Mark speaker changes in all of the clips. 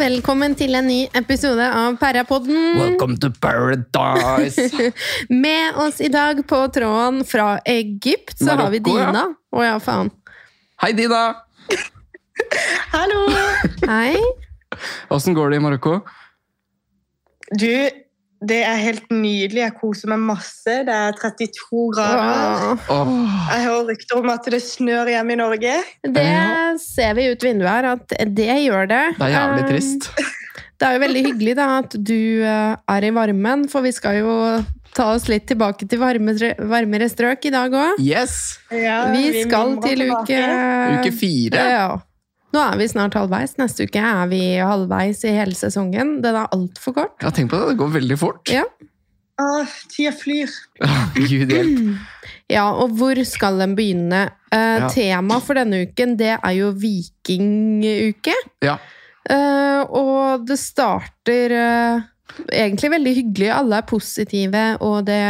Speaker 1: Velkommen til en ny episode av Perrapodden.
Speaker 2: Welcome to paradise!
Speaker 1: Med oss i dag på tråden fra Egypt så har vi
Speaker 2: Marokko, ja.
Speaker 1: Dina. Å ja, faen.
Speaker 2: Hei, Dina!
Speaker 3: Hallo!
Speaker 1: Hei.
Speaker 2: Åssen går det i Marokko?
Speaker 3: Du, det er helt nydelig. Jeg koser meg masse. Det er 32 grader.
Speaker 1: Åh.
Speaker 2: Åh,
Speaker 3: Jeg hører rykter om at det snør hjemme i Norge.
Speaker 1: Det ser vi ut vinduet her, at det gjør det.
Speaker 2: det er jævlig
Speaker 1: Eh,
Speaker 2: trist.
Speaker 1: Det er jo veldig hyggelig da at du eh, er i varmen, for vi skal jo ta oss litt tilbake til varmere, varmere strøk i dag òg.
Speaker 2: Yes!
Speaker 3: Ja,
Speaker 1: Vi skal
Speaker 3: mumler
Speaker 1: til
Speaker 3: tilbake.
Speaker 1: uke
Speaker 2: Uke fire.
Speaker 1: Ehm. Ja. Nå er vi snart halvveis. Neste uke er vi halvveis i hele sesongen. Den er altfor kort.
Speaker 2: Ja, tenk på det, det går veldig fort.
Speaker 1: Ja.
Speaker 3: Åh, tida flyr.
Speaker 2: Åh, Gud hjelp.
Speaker 1: Ja, og hvor skal den begynne? Eh,
Speaker 2: Ja.
Speaker 1: Tema for denne uken, det er jo vikinguke.
Speaker 2: Ja.
Speaker 1: Eh, og det starter eh, egentlig veldig hyggelig. Alle er positive, og det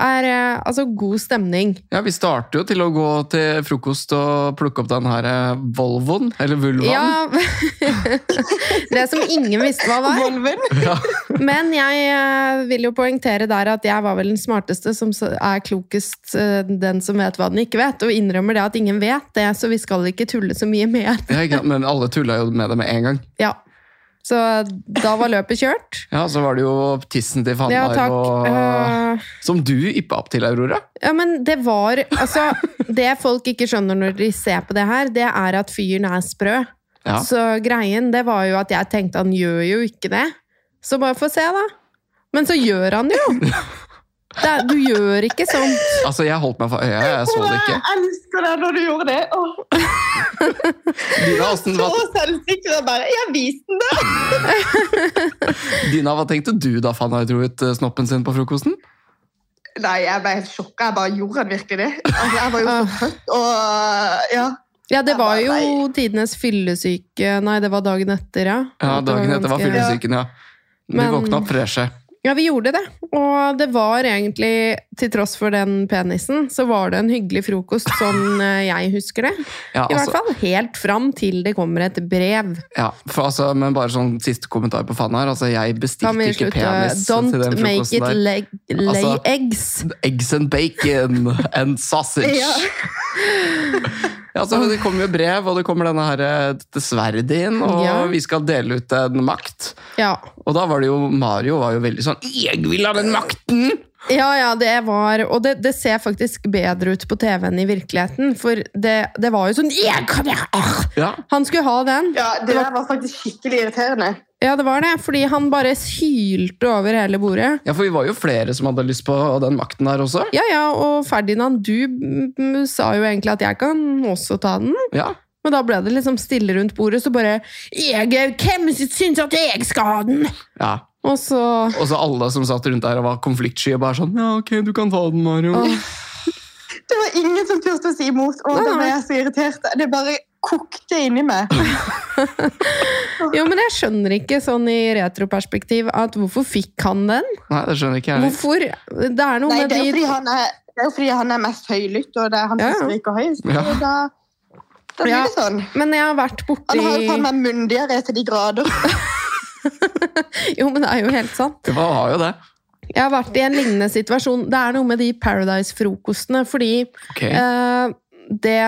Speaker 1: er eh, altså god stemning.
Speaker 2: ja, vi starter jo til å gå til frokost og plukke opp den her eh, Volvoen, eller Vulvaen.
Speaker 1: Ja, det som ingen visste hva var.
Speaker 3: Volven.
Speaker 2: Ja.
Speaker 1: Men jeg eh, vil jo poengtere der at jeg var vel den smarteste som s- er klokest eh, den som vet hva den ikke vet, og innrømmer det at ingen vet det, så vi skal ikke tulle så mye mer.
Speaker 2: Ja, ikke sant, Men alle tulla jo med det med en gang.
Speaker 1: Ja. Så da var løpet kjørt.
Speaker 2: Ja, Så var det jo tissen til
Speaker 1: Ja,
Speaker 2: Fannar
Speaker 1: takk.
Speaker 2: og
Speaker 1: Eh,
Speaker 2: Som du yppa opp til, Aurora.
Speaker 1: Ja, men det var Altså, det folk ikke skjønner når de ser på det her, det er at fyren er sprø.
Speaker 2: Ja.
Speaker 1: Så greien, det var jo at jeg tenkte han gjør jo ikke det. Så bare få se, da. Men så gjør han det jo! Det, er- du gjør ikke sånn. sånt.
Speaker 2: Altså, jeg holdt meg for øya, jeg så det ikke.
Speaker 3: Jeg elsker deg når du gjorde det. Åh,
Speaker 2: Dina, hvordan-
Speaker 3: så
Speaker 2: hva,
Speaker 3: selvsikker jeg bare. Jeg viste den der.
Speaker 2: Dina, hva tenkte du da Fannar dro ut eh, snoppen sin på frokosten?
Speaker 3: Nei, jeg ble helt sjokka. Jeg bare gjorde han virkelig det. Altså, jeg var jo så trøtt og ja.
Speaker 1: Ja, det
Speaker 3: Jeg
Speaker 1: var
Speaker 3: bare,
Speaker 1: jo
Speaker 3: nei.
Speaker 1: tidenes fyllesyke Nei, det var dagen etter, ja.
Speaker 2: Ja,
Speaker 1: Det
Speaker 2: dagen etter var
Speaker 1: ganske-
Speaker 2: fyllesyken, ja. Du
Speaker 1: Men-
Speaker 2: våkna opp freshe.
Speaker 1: Ja, vi gjorde det. Og det var egentlig, til tross for den penisen, så var det en hyggelig frokost, sånn eh, jeg husker det.
Speaker 2: Ja,
Speaker 1: I hvert
Speaker 2: altså,
Speaker 1: fall helt fram til det kommer et brev.
Speaker 2: ja, for altså, men bare sånn siste kommentar på faen her. Altså, jeg
Speaker 1: Kan
Speaker 2: bestilte
Speaker 1: vi
Speaker 2: ikke
Speaker 1: slutte
Speaker 2: penis
Speaker 1: Don't
Speaker 2: til den
Speaker 1: make it
Speaker 2: frokosten der.
Speaker 1: leg, lay
Speaker 2: Altså-
Speaker 1: eggs.
Speaker 2: Eggs and bacon and sausage.
Speaker 3: Ja.
Speaker 2: Ja, så det kommer jo brev, og det kommer denne her, eh, dette sverdet inn, og
Speaker 1: Ja.
Speaker 2: vi skal dele ut en makt.
Speaker 1: Ja.
Speaker 2: Og da var det jo Mario var jo veldig sånn Jeg vil ha den makten!
Speaker 1: ja, ja, det var Og det, det ser faktisk bedre ut på TV enn i virkeligheten, for det, det var jo sånn «Jeg kan jeg- ah!»
Speaker 2: Ja,
Speaker 1: Han skulle ha den.
Speaker 3: ja, det der var faktisk skikkelig irriterende.
Speaker 1: Ja, det var det, fordi han bare hylte over hele bordet.
Speaker 2: ja, for vi var jo flere som hadde lyst på den makten der også.
Speaker 1: Ja, ja, og Ferdinand, du mm, mm, sa jo egentlig at jeg kan også ta den.
Speaker 2: Ja,
Speaker 1: Men da ble det liksom stille rundt bordet, så bare jeg, Hvem syns at jeg skal ha den?!
Speaker 2: ja.
Speaker 1: Og så
Speaker 2: Og så alle som satt rundt der og var konfliktsky, bare sånn Ja, ok, du kan ta den, Mario.
Speaker 1: Åh.
Speaker 3: Det var ingen som turte å si imot, og
Speaker 1: Nei,
Speaker 3: da
Speaker 1: nei.
Speaker 3: ble jeg så irritert. Det bare kokte inni meg.
Speaker 1: Jo, men jeg skjønner ikke sånn i retroperspektiv at hvorfor fikk han den?
Speaker 2: Nei, det skjønner ikke jeg. heller.
Speaker 1: Hvorfor? Det er noe
Speaker 3: Nei,
Speaker 1: med
Speaker 3: det er
Speaker 1: de
Speaker 3: jo fordi han er, det er, jo fordi han er mest høylytt, og det er han
Speaker 1: Ja, ja.
Speaker 3: som skriker høyest.
Speaker 2: Ja.
Speaker 3: Og da, da blir
Speaker 1: Ja.
Speaker 3: det sånn.
Speaker 1: Men jeg har vært borti
Speaker 3: Han har jo faen meg munndiaré til de grader.
Speaker 1: Jo, men det er jo helt sant.
Speaker 2: Det var, var jo det.
Speaker 1: Jeg har vært i en lignende situasjon. Det er noe med de Paradise-frokostene, fordi
Speaker 2: Ok.
Speaker 1: Eh, det,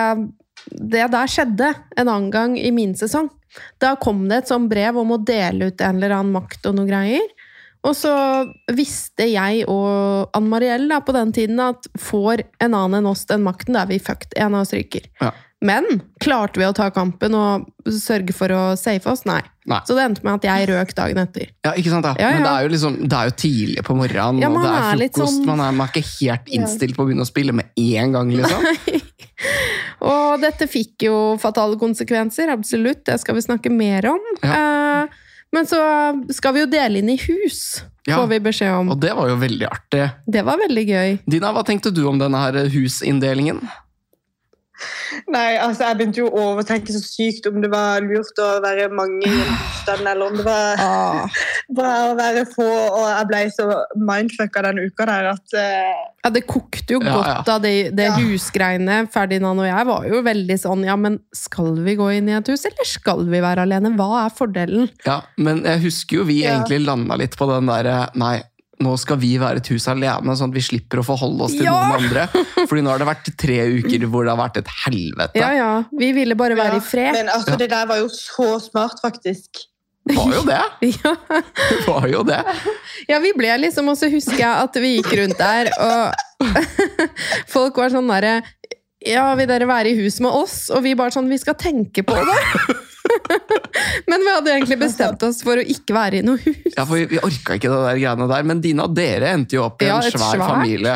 Speaker 1: det der skjedde en annen gang i min sesong. Da kom det et sånt brev om å dele ut en eller annen makt og noe greier. Og så visste jeg og Ann Mariell da, på den tiden at får en annen enn oss den makten, da er vi fucked. En av oss ryker.
Speaker 2: Ja.
Speaker 1: Men klarte vi å ta kampen og sørge for å safe oss? Nei.
Speaker 2: Nei.
Speaker 1: Så det endte med at jeg røk dagen etter.
Speaker 2: Ja, ikke sant? Ja.
Speaker 1: Ja, ja.
Speaker 2: Men det er jo liksom, det er jo tidlig på morgenen,
Speaker 1: Ja,
Speaker 2: og
Speaker 1: man
Speaker 2: det
Speaker 1: er
Speaker 2: er
Speaker 1: litt
Speaker 2: frokost.
Speaker 1: sånn-
Speaker 2: Man, er, man er ikke helt innstilt på å begynne å spille med en gang, liksom.
Speaker 1: Og dette fikk jo fatale konsekvenser, absolutt. Det skal vi snakke mer om. Eh, men så skal vi jo dele inn i hus,
Speaker 2: Ja.
Speaker 1: får vi beskjed om.
Speaker 2: Og det var jo veldig artig.
Speaker 1: Det var veldig gøy.
Speaker 2: Dina, hva tenkte du om denne her husinndelingen?
Speaker 3: Nei, altså jeg begynte jo å overtenke så sykt om det var lurt å være mange i en husstand, eller om det var
Speaker 1: Ah.
Speaker 3: bra å være få. Og jeg ble så mindfucka den uka der at eh,
Speaker 1: Ja, det kokte jo
Speaker 2: Ja,
Speaker 1: godt av det, det
Speaker 3: Ja.
Speaker 1: husgreiene. Ferdinand og jeg var jo veldig sånn Ja, men skal vi gå inn i et hus, eller skal vi være alene? Hva er fordelen?
Speaker 2: Ja, men jeg husker jo vi
Speaker 3: Ja.
Speaker 2: egentlig landa litt på den derre Nei, nå skal vi være et hus alene, sånn at vi slipper å forholde oss til
Speaker 1: Ja.
Speaker 2: noen andre. Fordi nå har det vært tre uker hvor det har vært et helvete.
Speaker 1: Ja, ja, vi ville bare være
Speaker 3: ja.
Speaker 1: i fred.
Speaker 3: Men altså, det der var jo så smart, faktisk.
Speaker 2: Det var jo det!
Speaker 1: Ja.
Speaker 2: Det var jo det.
Speaker 1: ja, vi ble liksom Og så husker jeg at vi gikk rundt der, og folk var sånn derre Ja, vil dere være i hus med oss? Og vi bare sånn Vi skal tenke på det. Men vi hadde egentlig bestemt oss for å ikke være i noe hus.
Speaker 2: Ja, for vi, vi orka ikke det der greiene der. Men dine og dere endte jo opp i
Speaker 1: Ja,
Speaker 2: en
Speaker 1: et
Speaker 2: svær
Speaker 1: svært.
Speaker 2: familie.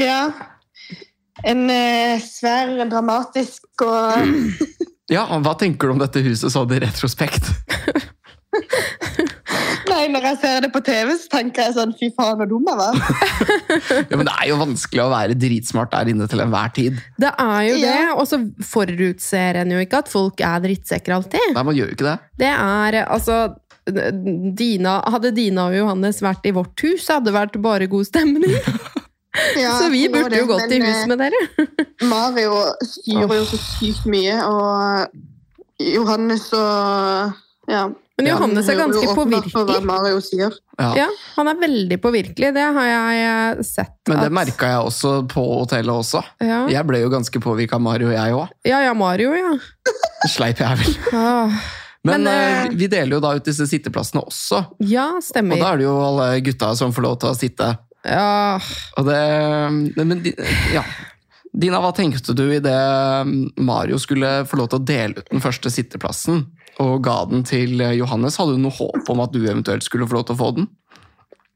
Speaker 3: Ja. En eh, svær, dramatisk og
Speaker 2: Ja, og Hva tenker du om dette huset sånn i retrospekt?
Speaker 3: Nei, når jeg ser det på TV, så tenker jeg sånn fy faen, så dum jeg var.
Speaker 2: Ja, men Det er jo vanskelig å være dritsmart der inne til enhver tid.
Speaker 1: Det er jo det,
Speaker 3: Ja.
Speaker 1: og så forutser en jo ikke at folk er drittsekker alltid.
Speaker 2: Nei, man gjør jo ikke det.
Speaker 1: Det er altså Dina, Hadde Dina og Johannes vært i vårt hus, hadde det vært bare god stemning.
Speaker 3: Ja,
Speaker 1: så vi
Speaker 3: det var
Speaker 1: burde jo
Speaker 3: det,
Speaker 1: gått i
Speaker 3: men,
Speaker 1: hus med dere.
Speaker 3: eh, Mario styrer jo så sykt mye, og Johannes og ja.
Speaker 1: Men
Speaker 2: Ja,
Speaker 1: Johannes er
Speaker 3: hører jo
Speaker 1: ganske
Speaker 3: åpenbart på hva
Speaker 1: påvirkelig.
Speaker 3: Mario sier.
Speaker 2: Ja.
Speaker 1: Ja, han er veldig påvirkelig. Det har jeg eh, sett.
Speaker 2: Men det
Speaker 1: at-
Speaker 2: merka jeg også på hotellet også.
Speaker 1: ja.
Speaker 2: Jeg ble jo ganske påvirka av Mario, jeg òg.
Speaker 1: ja, ja, Mario, ja.
Speaker 2: Sleip jeg vel.
Speaker 1: Ah,
Speaker 2: Men,
Speaker 1: Men,
Speaker 2: eh, vi deler jo da ut disse sitteplassene også.
Speaker 1: ja,
Speaker 2: Og
Speaker 1: stemmer.
Speaker 2: da er det jo alle gutta som får lov til å sitte.
Speaker 1: Ja,
Speaker 2: Og det Nei, Men di- ja. Dina, hva tenkte du idet Mario skulle få lov til å dele ut den første sitteplassen og ga den til Johannes? Hadde du noe håp om at du eventuelt skulle få lov til å få den?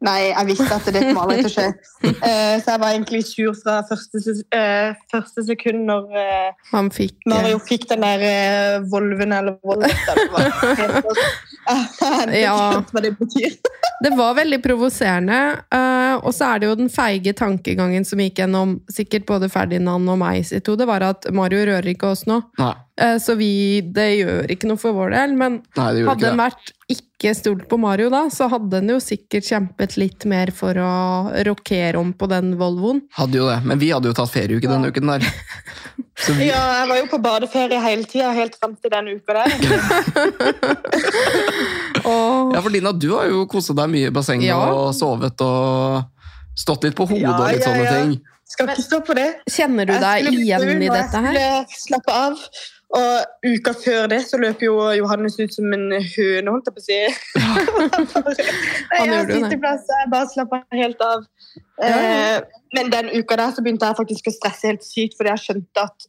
Speaker 3: Nei, jeg visste at det kommer aldri til å skje. Eh, så jeg var egentlig sur fra første, ses- eh, første sekund når eh,
Speaker 1: han fikk eh,
Speaker 3: Mario fikk den der eh, volven eller volvet. eller hva det heter. Jeg
Speaker 1: Ja.
Speaker 3: har ikke skjønt hva det betyr.
Speaker 1: Det var veldig provoserende, eh, og så er det jo den feige tankegangen som gikk gjennom sikkert både Ferdinand og meg sitt hode, var at Mario rører ikke oss nå,
Speaker 2: Nei,
Speaker 1: Eh, så vi, det gjør ikke noe for vår del. Men
Speaker 2: nei det gjorde
Speaker 1: hadde
Speaker 2: ikke
Speaker 1: han
Speaker 2: det.
Speaker 1: vært ikke stolt på Mario da, så hadde han jo sikkert kjempet litt mer for å rokere om på den Volvoen.
Speaker 2: Hadde jo det. Men vi hadde jo tatt ferieuke denne uken der. Så vi,
Speaker 3: Ja, jeg var jo på badeferie hele tida helt fram til den uka der.
Speaker 1: Og
Speaker 2: ja, for Dina, du har jo kosa deg mye i bassenget
Speaker 1: Ja.
Speaker 2: og sovet og stått litt på hodet
Speaker 3: Ja,
Speaker 2: og litt
Speaker 3: ja,
Speaker 2: sånne
Speaker 3: ja.
Speaker 2: ting.
Speaker 3: Skal ikke stå på det.
Speaker 1: kjenner du
Speaker 3: Jeg
Speaker 1: deg
Speaker 3: skulle bli
Speaker 1: igjen
Speaker 3: brun,
Speaker 1: i
Speaker 3: og
Speaker 1: dette her?
Speaker 3: Jeg skulle slappe av. Og uka før det så løp jo Johannes ut som en høne, holdt jeg på å si. Han bare, Nei,
Speaker 1: Han
Speaker 3: jeg har
Speaker 1: gjorde jo det.
Speaker 3: sitteplass, jeg bare slapper helt av.
Speaker 1: Ja, ja.
Speaker 3: Eh, Men den uka der så begynte jeg faktisk å stresse helt sykt, fordi jeg skjønte at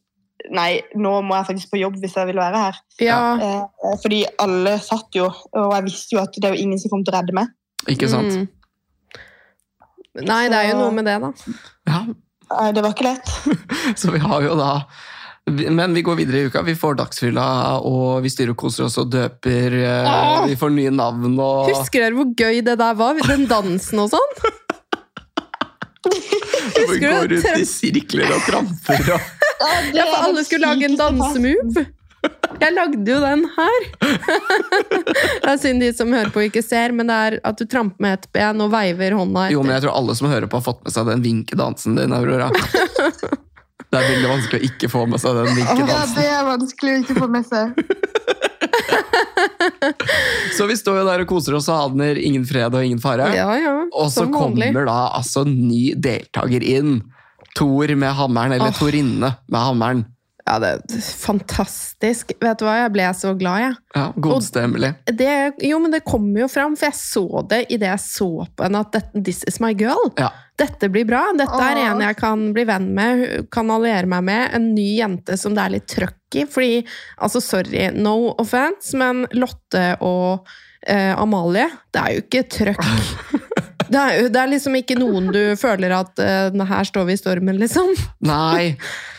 Speaker 3: nei, nå må jeg faktisk på jobb hvis jeg vil være her.
Speaker 1: Ja.
Speaker 3: Eh, Fordi alle satt jo, og jeg visste jo at det er jo ingen som kom til å redde meg.
Speaker 2: Ikke sant?
Speaker 1: Mm. Nei, det er jo noe med det, da.
Speaker 2: Ja,
Speaker 3: Eh, Det var ikke lett.
Speaker 2: Så vi har jo da Men vi går videre i uka. Vi får Dagsfylla, og vi styrer og koser oss og døper. eh,
Speaker 1: Åh!
Speaker 2: Vi får nye navn og
Speaker 1: Husker dere hvor gøy det der var? Den dansen og sånn?
Speaker 2: og vi
Speaker 1: husker
Speaker 2: går
Speaker 1: du
Speaker 2: rundt
Speaker 1: tramp-
Speaker 2: i sirkler og tramper. Og...
Speaker 3: Ja,
Speaker 1: Ja, for alle skulle lage en dansemove. Jeg lagde jo den her. Det er synd de som hører på ikke ser, men det er at du tramper med ett ben og veiver hånda
Speaker 2: Jo, men
Speaker 1: etter.
Speaker 2: jeg tror alle som hører på, har fått med seg den vinkedansen din, Aurora. Det er veldig vanskelig å ikke få med seg den vinkedansen.
Speaker 3: er vanskelig å ikke få med seg.
Speaker 2: Så vi står jo der og koser oss og aner ingen fred og ingen fare.
Speaker 1: Ja, ja.
Speaker 2: Og så
Speaker 1: som vanlig.
Speaker 2: kommer da altså ny deltaker inn. Tor med hammeren, eller
Speaker 1: Åh.
Speaker 2: Torinne med hammeren.
Speaker 1: Ja, det er fantastisk. Vet du hva, jeg ble så glad, jeg.
Speaker 2: Ja, Godeste Emily.
Speaker 1: Det, jo, men det kommer jo fram, for jeg så det idet jeg så på henne at dette, this is my girl.
Speaker 2: Ja.
Speaker 1: Dette blir bra. Dette er
Speaker 3: Åh.
Speaker 1: en jeg kan bli venn med, kan alliere meg med. En ny jente som det er litt trøkk i. Fordi, altså sorry, no offense, men Lotte og eh, Amalie, det er jo ikke trøkk. Det er, jo- det er liksom ikke noen du føler at eh, her står vi i stormen, liksom.
Speaker 2: Nei,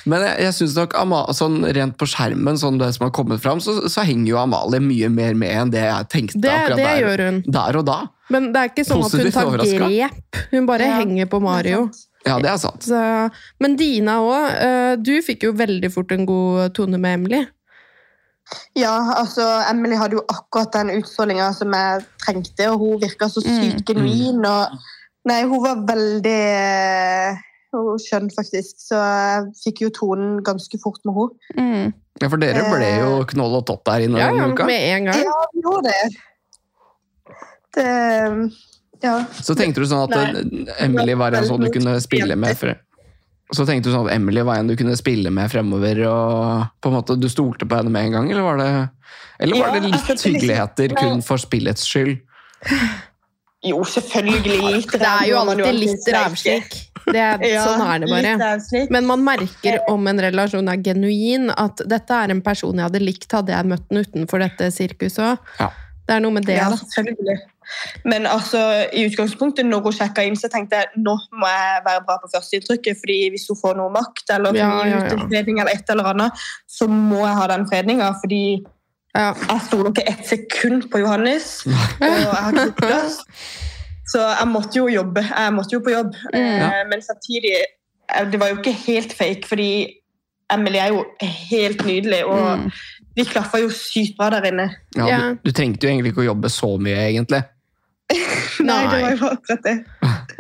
Speaker 2: men jeg, jeg synes nok Ama sånn rent på skjermen, sånn det som har kommet fram, så, så henger jo Amalie mye mer med enn det jeg tenkte
Speaker 1: Det,
Speaker 2: akkurat
Speaker 1: det
Speaker 2: der,
Speaker 1: gjør hun.
Speaker 2: der og da.
Speaker 1: Men det er ikke sånn at hun
Speaker 2: Positivt
Speaker 1: tar
Speaker 2: overrasket.
Speaker 1: grep. Hun bare
Speaker 3: Ja,
Speaker 1: henger på Mario.
Speaker 3: Det
Speaker 2: Ja, det er sant.
Speaker 1: Så, men Dina òg. Du fikk jo veldig fort en god tone med Emily.
Speaker 3: Ja, altså, Emily hadde jo akkurat den utfordringa som jeg trengte, og hun virka så
Speaker 2: Mm.
Speaker 3: sykt genuin. Og, nei, hun var veldig eh, hun var skjønn, faktisk. Så jeg fikk jo tonen ganske fort med henne.
Speaker 1: Mm.
Speaker 2: Ja, For dere ble jo knoll og tott der inne
Speaker 1: Eh, Ja, ja,
Speaker 2: denne uka.
Speaker 1: med en gang.
Speaker 3: Ja, hun gjorde det. det eh, ja.
Speaker 2: Så tenkte du sånn at eh, Emily var en sånn du kunne spille med fre Så tenkte du sånn at Emily var en du kunne spille med fremover, og på en måte du stolte på henne med en gang, eller var det, eller var det
Speaker 3: Ja, altså,
Speaker 2: litt
Speaker 3: det liksom-
Speaker 2: hyggeligheter kun for spillets skyld?
Speaker 3: Jo, selvfølgelig. Litt
Speaker 1: Det er jo alltid litt rævslik. Det er- Sånn er det bare. Men man merker om en relasjon er genuin, at dette er en person jeg hadde likt hadde jeg møtt den utenfor dette sirkuset òg.
Speaker 2: Ja.
Speaker 1: Det er noe med det. altså.
Speaker 3: Ja,
Speaker 1: da.
Speaker 3: selvfølgelig. Men altså, i utgangspunktet, når hun sjekka inn, så tenkte jeg nå må jeg være bra på førsteinntrykket. fordi hvis hun får noe makt eller får
Speaker 1: Ja,
Speaker 3: ja,
Speaker 1: ja, ja.
Speaker 3: en fredning eller et eller annet, så må jeg ha den fredninga. Fordi
Speaker 1: Ja.
Speaker 3: jeg stoler ikke ett sekund på Johannes. Og jeg har ikke plass. Så jeg måtte jo jobbe. Jeg måtte jo på jobb.
Speaker 1: Mm.
Speaker 3: Eh, Men samtidig eh, Det var jo ikke helt fake, fordi Emily er jo helt nydelig, og
Speaker 1: Mm.
Speaker 3: vi klaffa jo sykt bra der inne.
Speaker 2: Ja,
Speaker 1: Ja.
Speaker 2: Du, du trengte jo egentlig ikke å jobbe så mye, egentlig.
Speaker 3: Nei, det var
Speaker 1: Nei.
Speaker 3: jo akkurat det.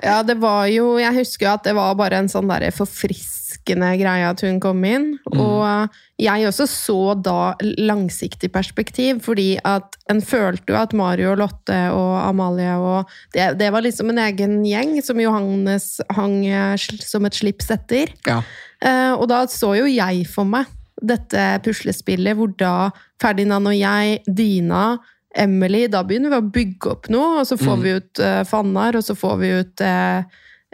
Speaker 1: Ja, det var jo Jeg husker jo at det var bare en sånn derre forfriskende greie at hun kom inn.
Speaker 2: Mm.
Speaker 1: Og eh, jeg også så da langsiktig perspektiv, fordi at en følte jo at Mario og Lotte og Amalie og det, det var liksom en egen gjeng som Johannes hang eh, sl- som et slips etter.
Speaker 2: Ja.
Speaker 1: Eh, og da så jo jeg for meg dette puslespillet hvor da Ferdinand og jeg, Dina, Emily Da begynner vi å bygge opp noe, og så får
Speaker 2: Mm.
Speaker 1: vi ut eh, Fannar, og så får vi ut eh,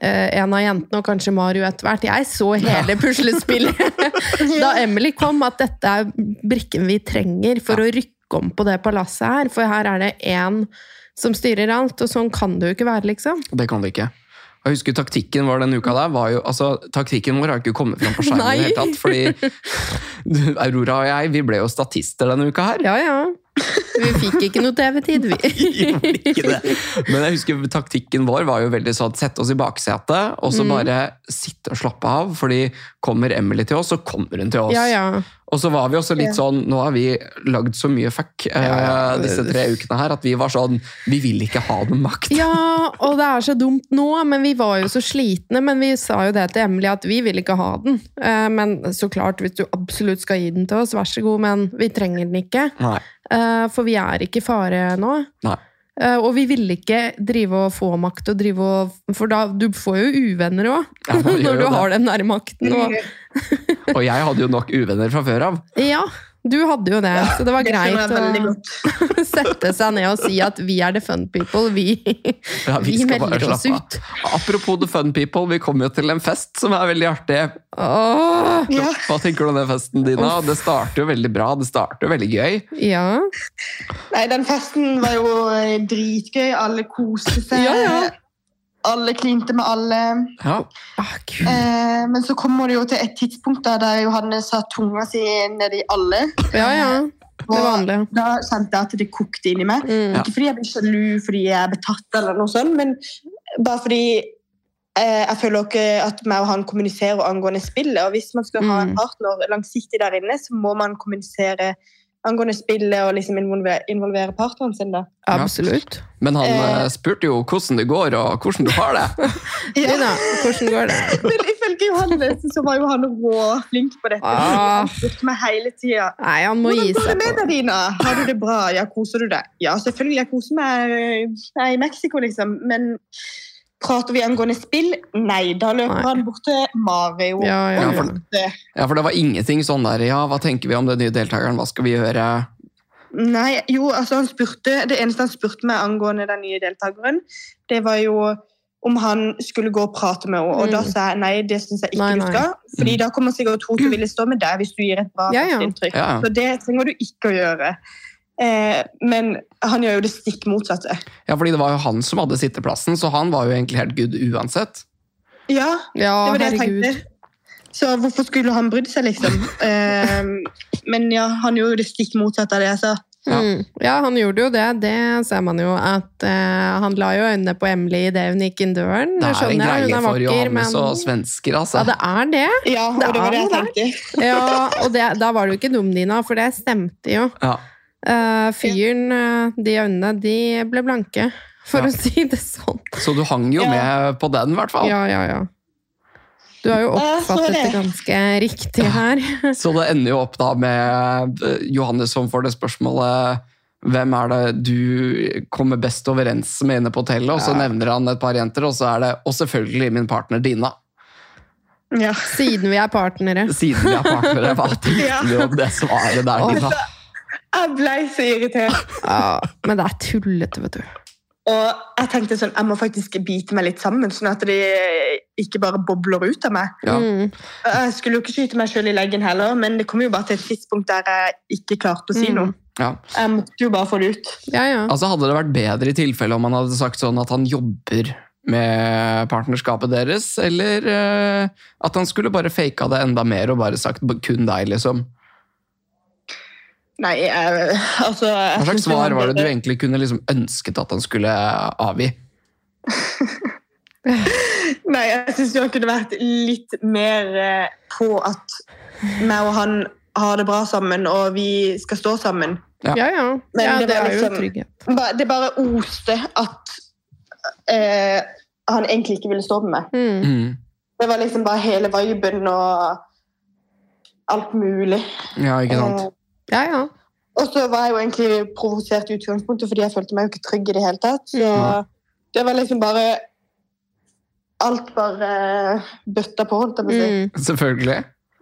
Speaker 1: eh, en av jentene, og kanskje Mario etter hvert. Jeg så hele puslespillet da Emily kom, at dette er brikken vi trenger for å rykke om på det palasset her. For her er det én som styrer alt, og sånn kan det jo ikke være, liksom.
Speaker 2: Det kan det ikke. Og Jeg husker taktikken vår denne uka der, var jo, altså, taktikken vår har ikke kommet fram på skjermen
Speaker 1: Nei.
Speaker 2: i det hele tatt, fordi du, Aurora og jeg, vi ble jo statister denne uka her.
Speaker 1: Ja, ja. Vi fikk ikke noe TV-tid, vi.
Speaker 2: Gjorde ikke det. Men jeg husker taktikken vår var jo veldig sånn sette oss i baksetet og så
Speaker 1: Mm.
Speaker 2: bare sitte og slappe av. Fordi kommer Emily til oss, så kommer hun til oss.
Speaker 1: Ja, ja.
Speaker 2: Og så var vi også litt sånn Nå har vi lagd så mye fuck eh,
Speaker 1: Ja, ja.
Speaker 2: disse tre ukene her at vi var sånn Vi vil ikke ha noen makt.
Speaker 1: Ja, og det er så dumt nå, men vi var jo så slitne. Men vi sa jo det til Emily at vi vil ikke ha den. Eh, Men så klart, hvis du absolutt skal gi den til oss, vær så god, men vi trenger den ikke.
Speaker 2: Nei.
Speaker 1: Eh, For vi er ikke i fare nå.
Speaker 2: Nei.
Speaker 1: Eh, Og vi ville ikke drive og få makt og drive og For da, du får jo uvenner òg,
Speaker 2: Ja, man gjør jo
Speaker 1: når du
Speaker 2: det.
Speaker 1: har den nære makten. Og,
Speaker 2: Og jeg hadde jo nok uvenner fra før av.
Speaker 1: ja, du hadde jo det, så det var
Speaker 3: Det skjønner jeg veldig
Speaker 1: greit
Speaker 3: godt.
Speaker 1: å sette seg ned og si at vi er the fun people, vi.
Speaker 2: Ja,
Speaker 1: Vi melder oss ut.
Speaker 2: av. Apropos the fun people, vi kommer jo til en fest som er veldig artig.
Speaker 1: Åh,
Speaker 3: Ja.
Speaker 2: Hva tenker du om den festen, Dina? Det starter jo veldig bra, det starter jo veldig gøy.
Speaker 1: ja.
Speaker 3: Nei, den festen var jo eh, dritgøy. Alle koste seg.
Speaker 1: Ja, ja.
Speaker 3: Alle klinte med alle.
Speaker 2: Ja.
Speaker 1: Ah, Gud.
Speaker 3: Eh, men så kommer det jo til et tidspunkt da, der Johannes har tunga si nedi alle.
Speaker 1: Ja, ja. Det
Speaker 3: Og
Speaker 1: vanlige.
Speaker 3: da kjente jeg at det kokte inni meg.
Speaker 1: Mm.
Speaker 3: Ikke fordi jeg blir sjalu fordi jeg er betatt, eller noe sånt, men bare fordi eh, jeg føler ikke at meg og han kommuniserer angående spillet. Og hvis man skal ha en
Speaker 1: Mm.
Speaker 3: partner langsiktig der inne, så må man kommunisere angående spillet og liksom involvere, involvere partneren sin. da.
Speaker 1: Absolutt.
Speaker 2: Men han
Speaker 3: Eh.
Speaker 2: eh, spurte jo hvordan det går, og hvordan du har det.
Speaker 1: Ja. da, hvordan går det?
Speaker 3: Men ifølge Johannes så var jo han råflink på dette.
Speaker 1: Ah.
Speaker 3: Han spurte meg hele tida.
Speaker 1: Nei, han må gi
Speaker 3: Hvordan går det
Speaker 1: seg på det.
Speaker 3: med deg, Dina? Har du det bra? Ja, koser du deg? Ja, selvfølgelig. Jeg koser meg. Jeg er i Mexico, liksom. Men prater vi angående spill? Nei. Da løper
Speaker 1: Nei.
Speaker 3: han bort til Mario.
Speaker 1: Ja, ja,
Speaker 2: Ja,
Speaker 1: ja.
Speaker 2: for Ja, For det var ingenting sånn der Ja, hva tenker vi om den nye deltakeren, hva skal vi gjøre?
Speaker 3: Nei, jo, altså han spurte Det eneste han spurte meg angående den nye deltakeren, det var jo om han skulle gå og prate med henne. Og
Speaker 1: Mm.
Speaker 3: da sa jeg nei, det syns jeg ikke
Speaker 1: Nei,
Speaker 3: du skal. Fordi
Speaker 2: Mm.
Speaker 3: da kommer sikkert hun til å ville stå med deg hvis du gir et bra
Speaker 1: Ja, ja.
Speaker 3: inntrykk.
Speaker 2: Ja,
Speaker 3: Så det trenger du ikke å gjøre. Eh, men han gjør jo det stikk motsatte.
Speaker 2: ja fordi det var jo han som hadde sitteplassen, så han var jo egentlig helt good uansett.
Speaker 3: Ja,
Speaker 1: Ja,
Speaker 3: det var det jeg
Speaker 1: herregud.
Speaker 3: tenkte. Så Ehm, hvorfor skulle han brydd seg, liksom? Eh, men ja, han gjorde jo det stikk motsatte av det jeg sa.
Speaker 2: Ja.
Speaker 1: Mm. Ja, han gjorde jo det. Det ser man jo at eh, Han la jo øynene på Emily idet hun gikk inn døren.
Speaker 2: Det er en
Speaker 1: skjønner jeg, hun
Speaker 2: greie
Speaker 1: er
Speaker 2: for
Speaker 1: vakker,
Speaker 2: Johannes
Speaker 1: men-
Speaker 2: og svensker, altså.
Speaker 1: Ja, det er det.
Speaker 3: Ja, og
Speaker 1: Det
Speaker 3: det,
Speaker 1: er
Speaker 3: var det jeg
Speaker 1: noe
Speaker 3: tenkte.
Speaker 1: Ja, og det, da var du ikke dum, Dina, for det stemte jo.
Speaker 2: Ja.
Speaker 1: Eh, fyren, eh, de øynene, de ble blanke, for
Speaker 2: Ja.
Speaker 1: å si det sånn.
Speaker 2: Så du hang jo
Speaker 3: Ja.
Speaker 2: med på den, i hvert fall.
Speaker 1: Ja, ja, ja. Du har jo
Speaker 3: Ja, Eh, så
Speaker 1: oppfattet det
Speaker 3: det.
Speaker 1: ganske riktig her.
Speaker 2: Så det ender jo opp da med eh, Johannes som får det spørsmålet hvem er det du kommer best overens med inne på hotellet? Og så
Speaker 1: Ja.
Speaker 2: nevner han et par jenter, og så er det og selvfølgelig min partner Dina.
Speaker 3: Ja.
Speaker 1: Siden vi er partnere.
Speaker 2: Siden jeg er partnere, hva
Speaker 3: Ja.
Speaker 2: tenkte du om det svaret der,
Speaker 1: Åh.
Speaker 2: Dina?
Speaker 3: Jeg ble så irritert.
Speaker 1: Ja, men det er tullete, vet du.
Speaker 3: Og jeg tenkte sånn, jeg må faktisk bite meg litt sammen, sånn at de ikke bare bobler ut av meg.
Speaker 2: Ja.
Speaker 1: Mm,
Speaker 3: Jeg skulle jo ikke skyte meg selv i leggen heller, men det kom jo bare til et tidspunkt der jeg ikke klarte å si
Speaker 1: Mm.
Speaker 3: noe.
Speaker 2: Ja.
Speaker 3: Jeg måtte jo bare få det ut.
Speaker 1: ja, ja.
Speaker 2: Altså Hadde det vært bedre i tilfelle om han hadde sagt sånn at han jobber med partnerskapet deres, eller eh, at han skulle bare faka det enda mer og bare sagt "B- kun deg, liksom?
Speaker 3: Nei, jeg, altså... jeg
Speaker 2: Hva
Speaker 3: synes
Speaker 2: slags svar
Speaker 3: var
Speaker 2: var det du
Speaker 3: bedre.
Speaker 2: egentlig kunne liksom ønsket at han skulle avgi?
Speaker 3: Nei, jeg synes jo han kunne vært litt mer eh, på at meg og han har det bra sammen, og vi skal stå sammen.
Speaker 1: Ja, ja.
Speaker 3: Men
Speaker 1: ja
Speaker 3: det
Speaker 1: det
Speaker 3: var
Speaker 1: er jo
Speaker 3: liksom-
Speaker 1: trygghet.
Speaker 3: Ba- Det bare oste at eh, han egentlig ikke ville stå med meg.
Speaker 1: Mm.
Speaker 2: Mm.
Speaker 3: Det var liksom bare hele viben og alt mulig.
Speaker 2: Ja, ikke sant?
Speaker 3: Eh,
Speaker 1: Ja, ja.
Speaker 3: Og så var jeg jo egentlig provosert i utgangspunktet, fordi jeg følte meg jo ikke trygg i det hele tatt. Så
Speaker 2: Ja.
Speaker 3: det var liksom bare Alt bare eh, bøtta på, holdt jeg på å si.
Speaker 1: Mm.
Speaker 2: Selvfølgelig.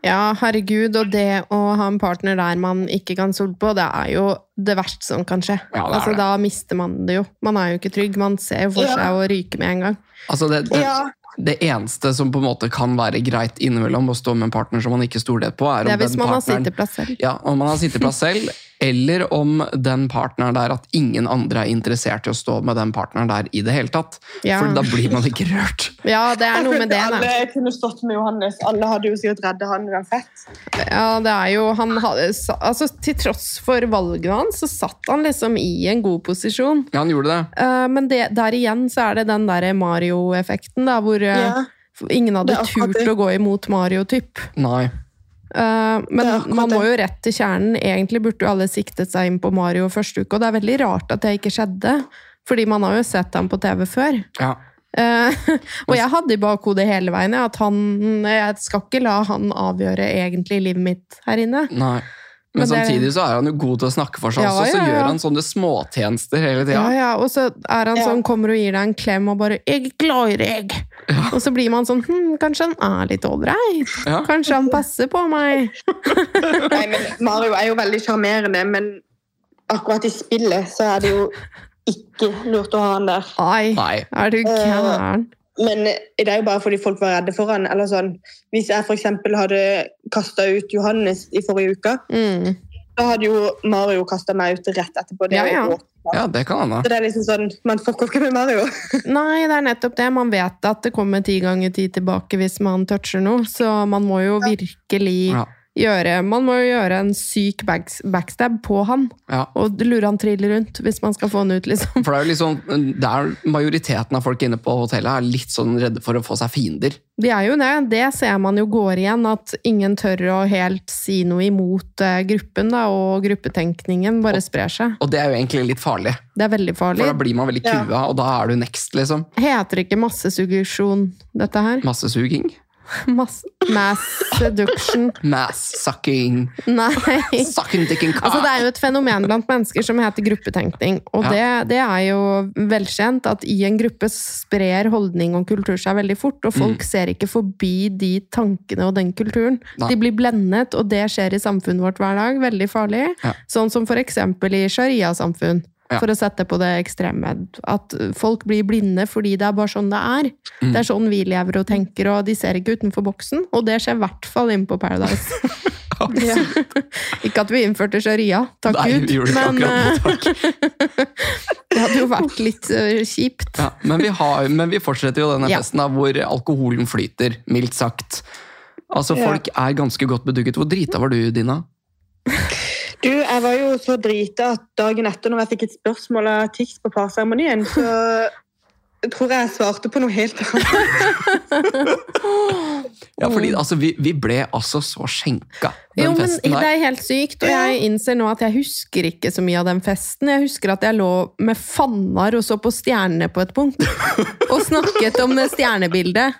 Speaker 1: Ja, herregud, og det å ha en partner der man ikke kan stole på, det er jo det verste som kan skje.
Speaker 2: Ja, det er
Speaker 1: altså,
Speaker 2: det.
Speaker 1: da mister man det jo. Man er jo ikke trygg. Man ser jo for
Speaker 3: Ja.
Speaker 1: seg å ryke med en gang.
Speaker 2: Altså det, det,
Speaker 3: Ja,
Speaker 2: det eneste som på en måte kan være greit innimellom å stå med en partner som man ikke stoler på, er
Speaker 1: Det
Speaker 2: om
Speaker 1: er hvis
Speaker 2: den
Speaker 1: man har
Speaker 2: partneren
Speaker 1: sitteplass selv.
Speaker 2: ja, om man har sitteplass selv, eller om den partneren der at ingen andre er interessert i å stå med den partneren der i det hele tatt.
Speaker 1: Ja.
Speaker 2: For da blir man ikke rørt.
Speaker 1: ja, det er noe med det.
Speaker 3: alle
Speaker 1: Da.
Speaker 3: kunne stått med Johannes. Alle hadde jo sikkert redda han uansett.
Speaker 1: Ja, det er jo, han hadde, altså, til tross for valgene hans, så satt han liksom i en god posisjon.
Speaker 2: Ja, han gjorde det.
Speaker 1: Eh, men det, der igjen så er det den der Mario-effekten, da, hvor eh,
Speaker 3: Ja.
Speaker 1: ingen hadde
Speaker 3: Det er akkurat
Speaker 1: turt
Speaker 3: det.
Speaker 1: å gå imot Mario-typ.
Speaker 2: Nei.
Speaker 1: Eh, men
Speaker 3: Det er akkurat
Speaker 1: man må
Speaker 3: det.
Speaker 1: jo rett til kjernen. Egentlig burde jo alle siktet seg inn på Mario første uke, og det er veldig rart at det ikke skjedde. Fordi man har jo sett ham på TV før.
Speaker 2: Ja.
Speaker 1: Eh, og jeg hadde i bakhodet hele veien ja, at han Jeg skal ikke la han avgjøre egentlig livet mitt her inne.
Speaker 2: Nei.
Speaker 1: Men
Speaker 2: Men,
Speaker 1: det-
Speaker 2: samtidig så er han jo god til å snakke for seg
Speaker 1: Ja,
Speaker 2: også, så
Speaker 1: ja, ja.
Speaker 2: gjør han sånne småtjenester hele tida.
Speaker 1: Ja, ja, Og så er han
Speaker 3: Ja.
Speaker 1: sånn, kommer og gir deg en klem og bare 'Jeg klarer deg!' Og så blir man sånn hm, 'Kanskje han er litt ålreit?
Speaker 2: Ja.
Speaker 1: Kanskje han passer på meg?'
Speaker 3: Nei, men Mario er jo veldig sjarmerende, men akkurat i spillet så er det jo ikke lurt å ha han der.
Speaker 1: Nei,
Speaker 2: Nei.
Speaker 1: er du gæren?
Speaker 3: Men det er jo bare fordi folk var redde for han. Eller sånn. Hvis jeg f.eks. hadde kasta ut Johannes i forrige uke,
Speaker 1: Mm.
Speaker 3: da hadde jo Mario kasta meg ut rett etterpå. Det
Speaker 1: Ja,
Speaker 3: er jo
Speaker 1: ja.
Speaker 3: ikke lov.
Speaker 2: Ja, det kan hende.
Speaker 3: Så det er liksom sånn, Man fucker ikke med Mario.
Speaker 1: Nei, det er nettopp det. Man vet at det kommer ti ganger ti tilbake hvis man toucher noe, så man må jo virkelig
Speaker 2: Ja.
Speaker 1: gjøre Man må jo gjøre en syk backs- backstab på han,
Speaker 2: Ja.
Speaker 1: og lure han trill rundt hvis man skal få han ut, liksom.
Speaker 2: For det er jo liksom, det er majoriteten av folk inne på hotellet er litt sånn redde for å få seg fiender.
Speaker 1: De er jo det. Det ser man jo går igjen, at ingen tør å helt si noe imot eh, gruppen, da, og gruppetenkningen bare sprer seg.
Speaker 2: Og det er jo egentlig litt farlig,
Speaker 1: Det er veldig
Speaker 2: for
Speaker 1: farlig.
Speaker 2: da blir man veldig
Speaker 3: Ja.
Speaker 2: kua, og da er du next, liksom.
Speaker 1: Heter det ikke massesuggesjon, dette her?
Speaker 2: Massesuging.
Speaker 1: Mass, mass seduction.
Speaker 2: Mass sucking.
Speaker 1: Nei.
Speaker 2: Sucking dick and cock.
Speaker 1: Altså, det er jo et fenomen blant mennesker som heter gruppetenkning. Og det, det er jo velkjent at i en gruppe sprer holdning og kultur seg veldig fort, og folk
Speaker 2: Mm.
Speaker 1: ser ikke forbi de tankene og den kulturen.
Speaker 2: Nei.
Speaker 1: De blir blendet, og det skjer i samfunnet vårt hver dag. Veldig farlig.
Speaker 2: Ja.
Speaker 1: Sånn som for eksempel i sharia-samfunn.
Speaker 2: Ja.
Speaker 1: For å sette på det ekstreme. At folk blir blinde fordi det er bare sånn det er.
Speaker 2: Mm.
Speaker 1: Det er sånn vi lever og tenker, og de ser ikke utenfor boksen. Og det skjer i hvert fall inne på Paradise.
Speaker 3: Ja.
Speaker 1: Ikke at vi innførte sharia, takk
Speaker 2: Nei,
Speaker 1: Gud,
Speaker 2: vi gjorde ikke
Speaker 1: men
Speaker 2: akkurat det, takk.
Speaker 1: eh, det hadde jo vært litt eh, kjipt.
Speaker 2: Ja, men, vi har, men vi fortsetter jo denne
Speaker 1: Ja.
Speaker 2: festen da, hvor alkoholen flyter, mildt sagt. Altså,
Speaker 3: Ja.
Speaker 2: folk er ganske godt bedugget. Hvor drita var du, Dina?
Speaker 3: Du, jeg var jo så drita at dagen etter, når jeg fikk et spørsmål av Tix på parseremonien, så tror jeg jeg svarte på noe helt annet.
Speaker 2: Ja, fordi altså, vi, vi ble altså så skjenka den
Speaker 1: Mm. Jo, men
Speaker 2: festen
Speaker 1: det
Speaker 2: der.
Speaker 1: er helt sykt, og
Speaker 3: Ja.
Speaker 1: jeg innser nå at jeg husker ikke så mye av den festen. Jeg husker at jeg lå med fannar og så på stjernene på et punkt, og snakket om det stjernebildet.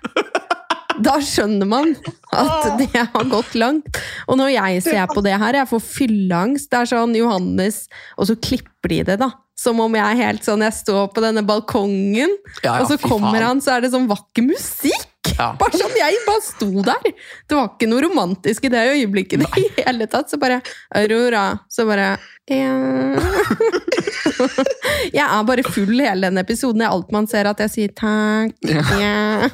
Speaker 1: Da skjønner man
Speaker 2: Ah.
Speaker 1: at det har gått langt. Og når jeg ser på det her, jeg får fylleangst. Det er sånn Johannes Og så klipper de det, da. Som om jeg er helt sånn Jeg står på denne balkongen,
Speaker 2: Ja, ja,
Speaker 1: og så
Speaker 2: fy
Speaker 1: kommer
Speaker 2: faen.
Speaker 1: han, så er det sånn vakker musikk!
Speaker 2: Ja.
Speaker 1: Bare sånn, jeg bare sto der. Det var ikke noe romantisk i det øyeblikket i hele tatt. Så bare Aurora. Så bare ja. Jeg er bare full i hele den episoden. Det er alt man ser at jeg sier takk. Ja.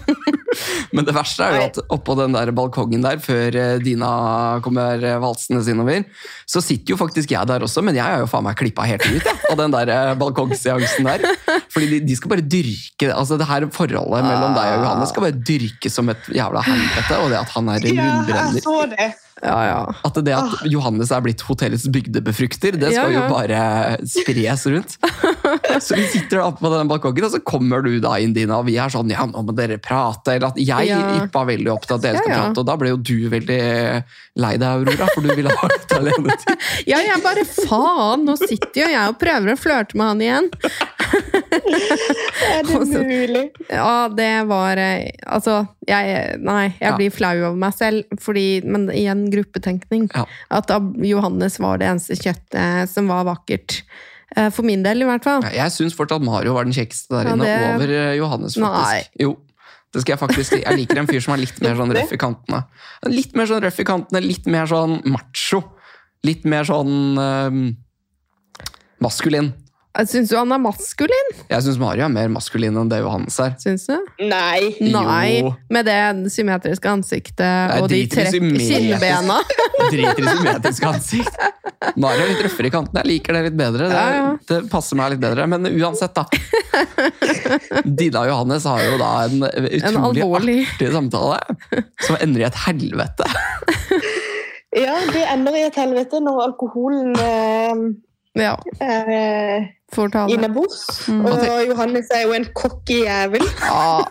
Speaker 2: Men det verste er jo
Speaker 3: Nei.
Speaker 2: at oppå den der balkongen der, før eh, Dina kommer eh, valsende innover, så sitter jo faktisk jeg der også, men jeg er jo faen meg klippa helt ut jeg, av den der eh, balkongseansen der. Fordi de, de skal bare dyrke altså det her forholdet mellom deg og Johanne skal bare dyrkes som et jævla helvete, og det at han er en
Speaker 3: Ja, altså, jeg
Speaker 2: rundbrenner.
Speaker 3: så det.
Speaker 1: Ja, ja.
Speaker 2: At det at Johannes er blitt hotellets bygdebefrukter, det skal
Speaker 1: Ah. Ja, ja.
Speaker 2: jo bare spres rundt. Så vi sitter da oppe på den balkongen, og så kommer du da inn, Dina, og vi er sånn ja, nå må dere prate. Eller at jeg
Speaker 1: Ja.
Speaker 2: yppa veldig opp til at dere
Speaker 1: Ja,
Speaker 2: skal
Speaker 1: ja.
Speaker 2: prate, og da ble jo du veldig lei deg, Aurora, for du ville ha litt alenetid.
Speaker 1: ja, jeg bare faen! Nå sitter jo jeg og prøver å flørte med han igjen.
Speaker 3: Er det
Speaker 1: Altså,
Speaker 3: mulig?
Speaker 1: Ja, det var eh, Altså, jeg Nei, jeg
Speaker 2: Ja.
Speaker 1: blir flau over meg selv, fordi Men igjen, gruppetenkning.
Speaker 2: Ja.
Speaker 1: At da Johannes var det eneste kjøttet som var vakkert. Eh, For min del, i hvert fall.
Speaker 2: Ja, Jeg syns fortsatt Mario var den kjekkeste der
Speaker 1: Ja,
Speaker 2: inne,
Speaker 1: det-
Speaker 2: over eh, Johannes,
Speaker 1: Nei.
Speaker 2: faktisk. Jo. Det skal jeg faktisk si. Jeg liker en fyr som er litt mer sånn røff i kantene. Litt mer sånn røff i kantene, litt mer sånn macho. Litt mer sånn eh, maskulin.
Speaker 1: Eh, Syns du han er maskulin?
Speaker 2: Jeg syns Mario er mer maskulin enn det Johannes er.
Speaker 1: Syns du?
Speaker 3: Nei.
Speaker 1: Nei.
Speaker 2: Jo.
Speaker 1: Med det symmetriske ansiktet
Speaker 2: Nei,
Speaker 1: og de
Speaker 2: drit i
Speaker 1: trekk
Speaker 2: symmetrisk.
Speaker 1: kinnbena.
Speaker 2: Driter i symmetrisk ansikt. Mario er litt røffere i kantene. Jeg liker det litt bedre. Det,
Speaker 1: Ja, ja.
Speaker 2: det passer meg litt bedre. Men uansett, da. Dina og Johannes har jo da en
Speaker 1: En
Speaker 2: utrolig
Speaker 1: alvorlig
Speaker 2: artig samtale som ender i et helvete.
Speaker 3: Ja, det ender i et helvete når alkoholen eh,
Speaker 1: Ja,
Speaker 3: er eh,
Speaker 1: får ta det.
Speaker 3: innebords.
Speaker 1: Mm.
Speaker 3: Og Johannes er jo en cocky jævel.
Speaker 1: Ja.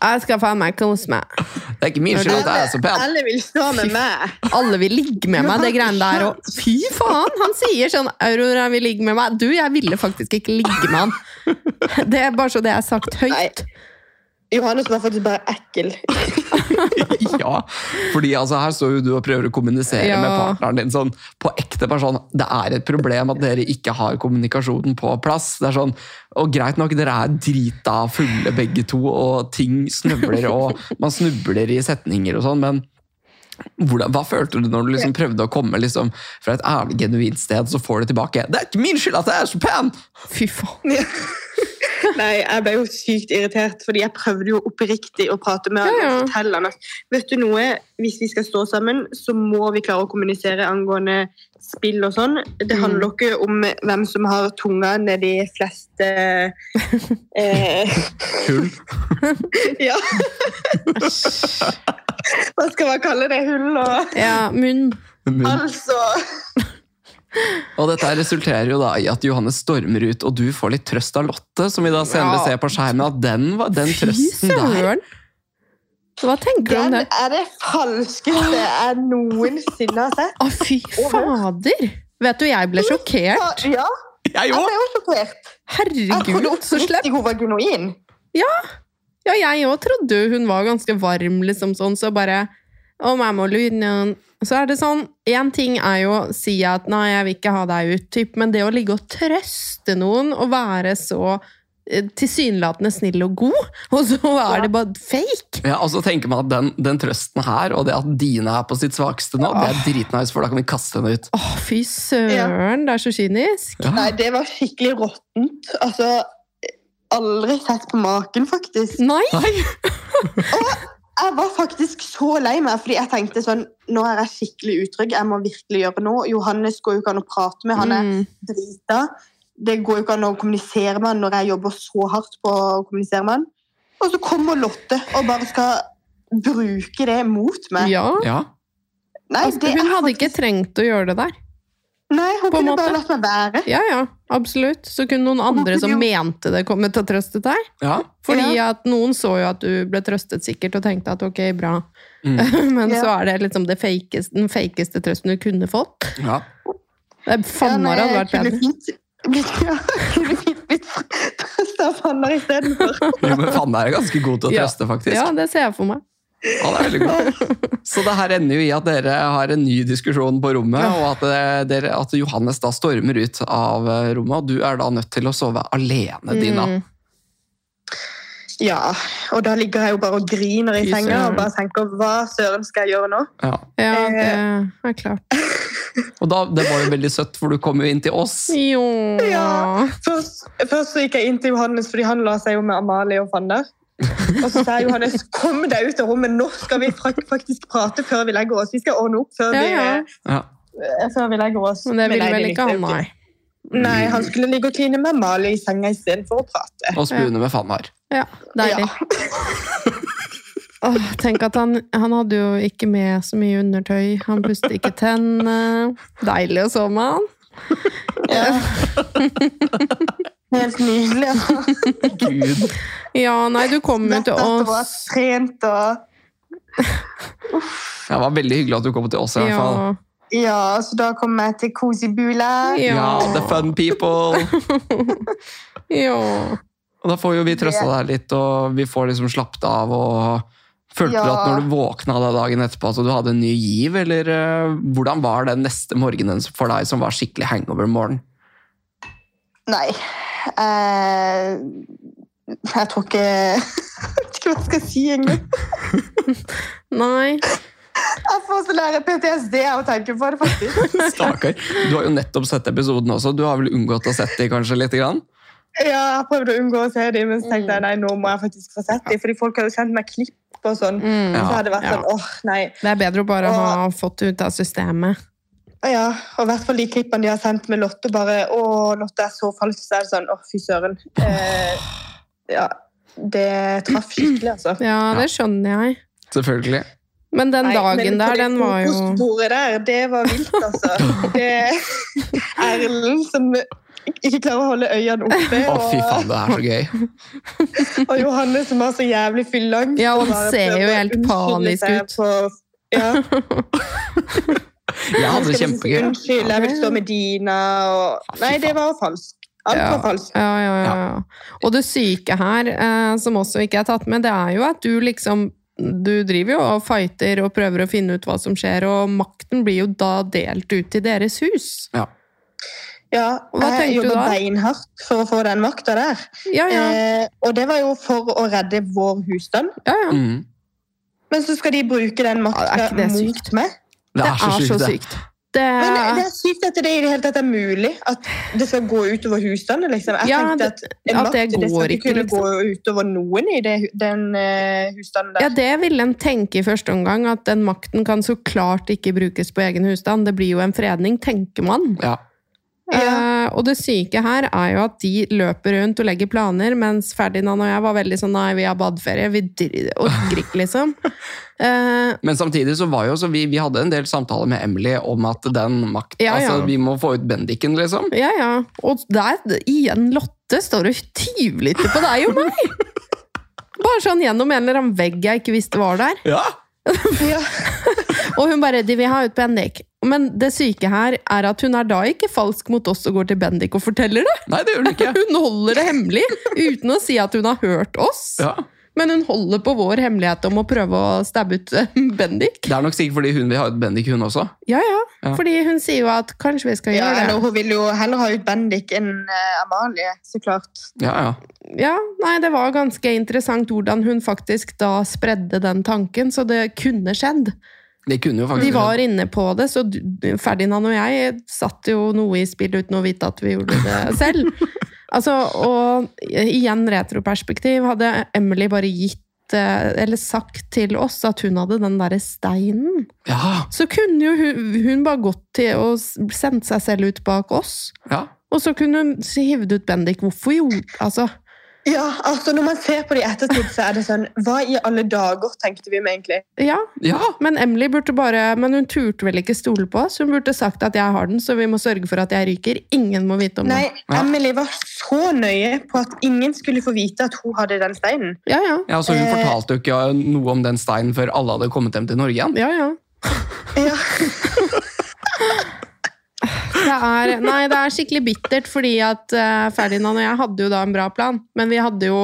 Speaker 1: Jeg skal faen meg kose meg.
Speaker 2: Det er ikke min skyld at jeg er så pen.
Speaker 3: Alle vil stå med meg.
Speaker 1: Alle vil ligge med meg, det greiene der. Og fy faen! Han sier sånn 'Aurora vil ligge med meg'. Du, jeg ville faktisk ikke ligge med han. Det er bare så det er sagt høyt.
Speaker 3: Johannes var faktisk bare ekkel.
Speaker 2: Ja, fordi altså, her står jo du og prøver å kommunisere
Speaker 1: Ja.
Speaker 2: med partneren din sånn på ekte person. Det er et problem at dere ikke har kommunikasjonen på plass. Det er sånn, og greit nok, dere er drita fulle begge to, og ting snubler, og man snubler i setninger og sånn, men hvordan, hva følte du når du liksom prøvde å komme liksom, fra et ærlig, genuint sted, så får du tilbake Det er ikke min skyld at jeg er så pen!
Speaker 1: Fy faen.
Speaker 3: Nei, jeg ble jo sykt irritert, fordi jeg prøvde jo oppriktig å prate med han
Speaker 1: Ja, ja.
Speaker 3: og fortelle han at vet du noe, hvis vi skal stå sammen, så må vi klare å kommunisere angående spill og sånn. Det
Speaker 1: Mm.
Speaker 3: handler ikke om hvem som har tunga nedi flest eh, eh,
Speaker 2: Hull.
Speaker 3: Ja. Hva skal man kalle det? Hull og
Speaker 1: Ja, munn.
Speaker 2: Munn.
Speaker 3: Altså
Speaker 2: Og dette her resulterer jo da i at Johannes stormer ut, og du får litt trøst av Lotte, som vi da senere
Speaker 1: Ja.
Speaker 2: ser på skjermen at den, var, den
Speaker 1: Fy
Speaker 2: trøsten der
Speaker 1: søren! Hva tenker du om
Speaker 3: Den
Speaker 1: det?
Speaker 3: er det falskeste jeg noensinne har sett.
Speaker 1: Å, fy fader! Vet du, jeg ble sjokkert.
Speaker 3: Så, ja,
Speaker 2: Jeg
Speaker 3: jeg
Speaker 2: òg!
Speaker 3: ble jo sjokkert. Jeg trodde
Speaker 1: Herregud, så slem.
Speaker 3: oppriktig hun var genuin.
Speaker 1: Ja, jeg òg trodde hun var ganske varm, liksom sånn, så bare om jeg må lune Så er det sånn Én ting er jo å si at 'nei, jeg vil ikke ha deg ut', typ, men det å ligge og trøste noen og være så eh, tilsynelatende snill og god, og så er det bare fake!
Speaker 2: Ja, og så tenker man at den, den trøsten her, og det at Dine er på sitt svakeste nå,
Speaker 1: Ah.
Speaker 2: det er dritnice, for da kan vi kaste henne ut.
Speaker 1: Å, fy søren, det er så kynisk!
Speaker 2: Ja.
Speaker 3: Nei, det var skikkelig råttent. Altså Aldri sett på maken, faktisk.
Speaker 1: Nei!
Speaker 2: Nei!
Speaker 3: Jeg var faktisk så lei meg, fordi jeg tenkte sånn Nå er jeg skikkelig utrygg, jeg må virkelig gjøre noe. Johannes går jo ikke an å prate med, han er
Speaker 1: Mm.
Speaker 3: drita. Det går jo ikke an å kommunisere med han når jeg jobber så hardt på å kommunisere med han. Og så kommer Lotte og bare skal bruke det mot meg.
Speaker 1: Ja.
Speaker 2: Ja.
Speaker 3: Nei,
Speaker 1: Altså,
Speaker 3: det er
Speaker 1: hun hadde ikke
Speaker 3: faktisk-
Speaker 1: trengt å gjøre det der.
Speaker 3: Nei, hun
Speaker 1: På en måte.
Speaker 3: kunne bare latt meg være.
Speaker 1: Ja, ja, absolutt. Så kunne noen andre som mente det, kommet og trøstet deg.
Speaker 2: Ja.
Speaker 1: Fordi at noen så jo at du ble trøstet sikkert og tenkte at ok, bra.
Speaker 2: Mm.
Speaker 1: Men
Speaker 3: Ja.
Speaker 1: så er det liksom det fakeste, den feikeste trøsten du kunne fått.
Speaker 2: ja.
Speaker 1: Det er Fannar
Speaker 3: Ja, nei,
Speaker 1: hadde vært
Speaker 3: jeg
Speaker 1: bedre.
Speaker 3: kunne fint- blitt- Ja, kunne fint blitt trøsta av Fannar istedenfor.
Speaker 2: Jo, men faen, det er ganske god til å
Speaker 1: Ja.
Speaker 2: trøste, faktisk.
Speaker 1: Ja, det ser jeg for meg.
Speaker 2: Ja, det er veldig god. Så det her ender jo i at dere har en ny diskusjon på rommet,
Speaker 1: Ja.
Speaker 2: og at, eh, dere, at Johannes da stormer ut av eh, rommet, og du er da nødt til å sove alene, Dina.
Speaker 1: Mm.
Speaker 3: Ja, og da ligger jeg jo bare og griner i
Speaker 2: Fy
Speaker 3: senga
Speaker 1: søren.
Speaker 3: og bare tenker hva søren skal jeg gjøre nå?
Speaker 2: Ja.
Speaker 1: Ja,
Speaker 3: Eh.
Speaker 1: det er klart.
Speaker 2: Og da, det var jo veldig søtt, for du kom jo inn til oss.
Speaker 1: Jo.
Speaker 3: Ja. Først, først så gikk jeg inn til Johannes, fordi han la seg jo med Amalie og Fannar. Og så sa jeg, Johannes, kom deg ut av rommet, nå skal vi frak- faktisk prate før vi legger oss. Vi skal ordne opp før,
Speaker 1: Ja, ja.
Speaker 3: Vi,
Speaker 2: Ja.
Speaker 3: eh, før vi legger oss.
Speaker 1: Men det ville
Speaker 3: nei,
Speaker 1: vel ikke
Speaker 3: likte
Speaker 1: han,
Speaker 3: jeg
Speaker 1: nei.
Speaker 3: jo ikke. Nei, han skulle ligge og kline med Amalie i senga istedenfor å prate.
Speaker 2: Og spune med Fannar.
Speaker 1: Ja, deilig.
Speaker 3: Ja.
Speaker 1: Åh, tenk at han, han hadde jo ikke med så mye undertøy. Han pustet ikke tennene. Deilig å sove med han.
Speaker 3: Ja. Helt nydelig. altså.
Speaker 2: Gud.
Speaker 1: Ja, nei, du kom jo
Speaker 3: Dette
Speaker 1: til
Speaker 3: var
Speaker 1: oss.
Speaker 3: trent og
Speaker 2: Det var veldig hyggelig at du kom til oss, i hvert fall.
Speaker 3: Ja, så da kom jeg til Kosibula.
Speaker 1: Ja.
Speaker 2: Ja, the fun people!
Speaker 1: Ja.
Speaker 2: Og da får jo vi trøsta deg litt, og vi får liksom slappet av og Følte du
Speaker 3: Ja.
Speaker 2: at når du våkna da dagen etterpå at du hadde en ny giv, eller eh, hvordan var den neste morgenen for deg som var skikkelig hangover-morgen?
Speaker 3: Nei. Eh, jeg tror ikke Jeg vet ikke hva jeg skal si engang.
Speaker 1: Nei.
Speaker 3: Jeg får så lære PTSD av å tenke på det, faktisk.
Speaker 2: Stakkar. Du har jo nettopp sett episoden også, du har vel unngått å sette de kanskje litt? Grann?
Speaker 3: Ja, jeg prøvde å unngå å se dem, men så tenkte
Speaker 1: Mm.
Speaker 3: jeg nei, nå må jeg faktisk få sett dem. Fordi folk har jo sendt meg klipp og sånn.
Speaker 1: Mm.
Speaker 3: Så
Speaker 2: Ja,
Speaker 3: hadde det vært
Speaker 1: ja.
Speaker 3: sånn, åh, nei.
Speaker 1: Det er bedre å bare ha fått det ut av systemet.
Speaker 3: Ja, og i hvert fall de klippene de har sendt med Lotte, bare Å, Lotte er så falsk. Så er det sånn, åh, fy søren. Eh, ja. Det traff skikkelig, altså.
Speaker 1: Ja, det skjønner jeg.
Speaker 2: Selvfølgelig.
Speaker 1: Men den
Speaker 3: Nei,
Speaker 1: dagen
Speaker 3: men på
Speaker 1: der,
Speaker 3: det
Speaker 1: den var jo
Speaker 3: frokostbordet der, det var vilt, altså. Det Erlend som ikke klarer å holde øynene oppe,
Speaker 2: Å, fy
Speaker 3: og,
Speaker 2: faen, det er så gøy.
Speaker 3: og Johanne som har så jævlig fylleangst.
Speaker 1: Ja,
Speaker 3: og
Speaker 1: han
Speaker 3: bare
Speaker 1: ser jo
Speaker 3: prøver å
Speaker 1: helt
Speaker 3: unnskylde
Speaker 1: panisk
Speaker 3: seg
Speaker 1: ut.
Speaker 3: på- ja,
Speaker 2: Jeg
Speaker 3: han
Speaker 2: hadde
Speaker 3: skal
Speaker 2: det
Speaker 3: liksom si,
Speaker 2: kjempegøy.
Speaker 3: Unnskyld, jeg vil stå med Dina og Nei, det var falskt. Alt
Speaker 1: Ja.
Speaker 3: var falskt.
Speaker 1: ja, ja, ja, ja. Og det syke her, eh, som også ikke er tatt med, det er jo at du liksom Du driver jo og fighter og prøver å finne ut hva som skjer, og makten blir jo da delt ut til deres hus.
Speaker 3: Ja,
Speaker 1: Og hva
Speaker 3: jeg
Speaker 1: tenkte du
Speaker 3: jobba
Speaker 1: da?
Speaker 3: beinhardt for å få den makta der.
Speaker 1: Ja, ja.
Speaker 3: Eh, og det var jo for å redde vår husstand.
Speaker 1: ja, ja.
Speaker 2: Mm.
Speaker 3: Men så skal de bruke den
Speaker 1: Ja, er
Speaker 3: makta
Speaker 1: ikke det sykt?
Speaker 3: mot meg.
Speaker 2: Det er så sykt, det.
Speaker 1: Det
Speaker 3: Men det
Speaker 1: er
Speaker 3: er sykt at det i det hele tatt er mulig at det skal gå utover husstanden. Liksom. Jeg
Speaker 1: Ja,
Speaker 3: tenkte at en
Speaker 1: at det
Speaker 3: makt det
Speaker 1: går
Speaker 3: skal
Speaker 1: ikke,
Speaker 3: ikke kunne
Speaker 1: liksom.
Speaker 3: gå utover noen i det, hu- den eh, husstanden
Speaker 1: Ja,
Speaker 3: der.
Speaker 1: det ville en tenke i første omgang, at den makten kan så klart ikke brukes på egen husstand. Det blir jo en fredning, tenker man.
Speaker 2: Ja.
Speaker 1: Eh, og det syke her er jo at de løper rundt og legger planer, mens Ferdinand og jeg var veldig sånn nei, vi har badeferie, vi dri- orker ikke, liksom. Eh,
Speaker 2: Men samtidig så var jo så vi, vi hadde en del samtaler med Emily om at den makt
Speaker 1: Ja, ja.
Speaker 2: Altså, vi må få ut Bendiken, liksom.
Speaker 1: ja, ja. Og der, igjen, Lotte står og tyvlytter på deg og meg! Bare sånn gjennom en eller annen vegg jeg ikke visste var der.
Speaker 2: Ja!
Speaker 3: Ja.
Speaker 1: Og hun bare 'de vil ha ut Bendik'. Men det syke her er at hun er da ikke falsk mot oss og går til Bendik og forteller det.
Speaker 2: Nei, det gjør du ikke.
Speaker 1: Hun holder det hemmelig uten å si at hun har hørt oss.
Speaker 2: Ja.
Speaker 1: Men hun holder på vår hemmelighet om å prøve å stabbe ut eh, Bendik.
Speaker 2: Det er nok sikkert fordi hun vil ha ut Bendik, hun også.
Speaker 1: Ja, ja.
Speaker 2: Ja.
Speaker 1: Fordi hun sier jo at kanskje vi skal
Speaker 3: Ja,
Speaker 1: gjøre
Speaker 3: eller
Speaker 1: det.
Speaker 3: hun vil jo heller ha ut Bendik enn eh, Amalie, så klart.
Speaker 2: Ja, ja.
Speaker 1: Ja, nei, Det var ganske interessant hvordan hun faktisk da spredde den tanken, så det kunne skjedd.
Speaker 2: Det kunne jo faktisk
Speaker 1: Vi var inne på det, så du- Ferdinand og jeg satt jo noe i spill uten å vite at vi gjorde det selv. Altså, og igjen retroperspektiv, hadde Emily bare gitt eh, eller sagt til oss at hun hadde den derre steinen,
Speaker 2: Ja,
Speaker 1: så kunne jo hun, hun bare gått til og s- sendt seg selv ut bak oss.
Speaker 2: ja.
Speaker 1: Og så kunne hun s- hivd ut Bendik. Hvorfor gjorde Altså,
Speaker 3: Ja, altså Når man ser på det i ettertid, så er det sånn Hva i alle dager tenkte vi med, egentlig?
Speaker 1: Ja,
Speaker 2: Ja,
Speaker 1: men Emily burde bare Men hun turte vel ikke stole på oss. Hun burde sagt at 'jeg har den, så vi må sørge for at jeg ryker'. Ingen må vite om
Speaker 3: Nei,
Speaker 1: det.
Speaker 2: Ja.
Speaker 3: Emily var så nøye på at ingen skulle få vite at hun hadde den steinen.
Speaker 1: Ja, ja.
Speaker 2: ja så Hun
Speaker 3: Eh.
Speaker 2: fortalte jo ikke noe om den steinen før alle hadde kommet hjem til Norge igjen.
Speaker 1: Ja, ja.
Speaker 3: Ja,
Speaker 1: Det er, nei, det er skikkelig bittert, fordi at eh, Ferdinand og jeg hadde jo da en bra plan, men vi hadde jo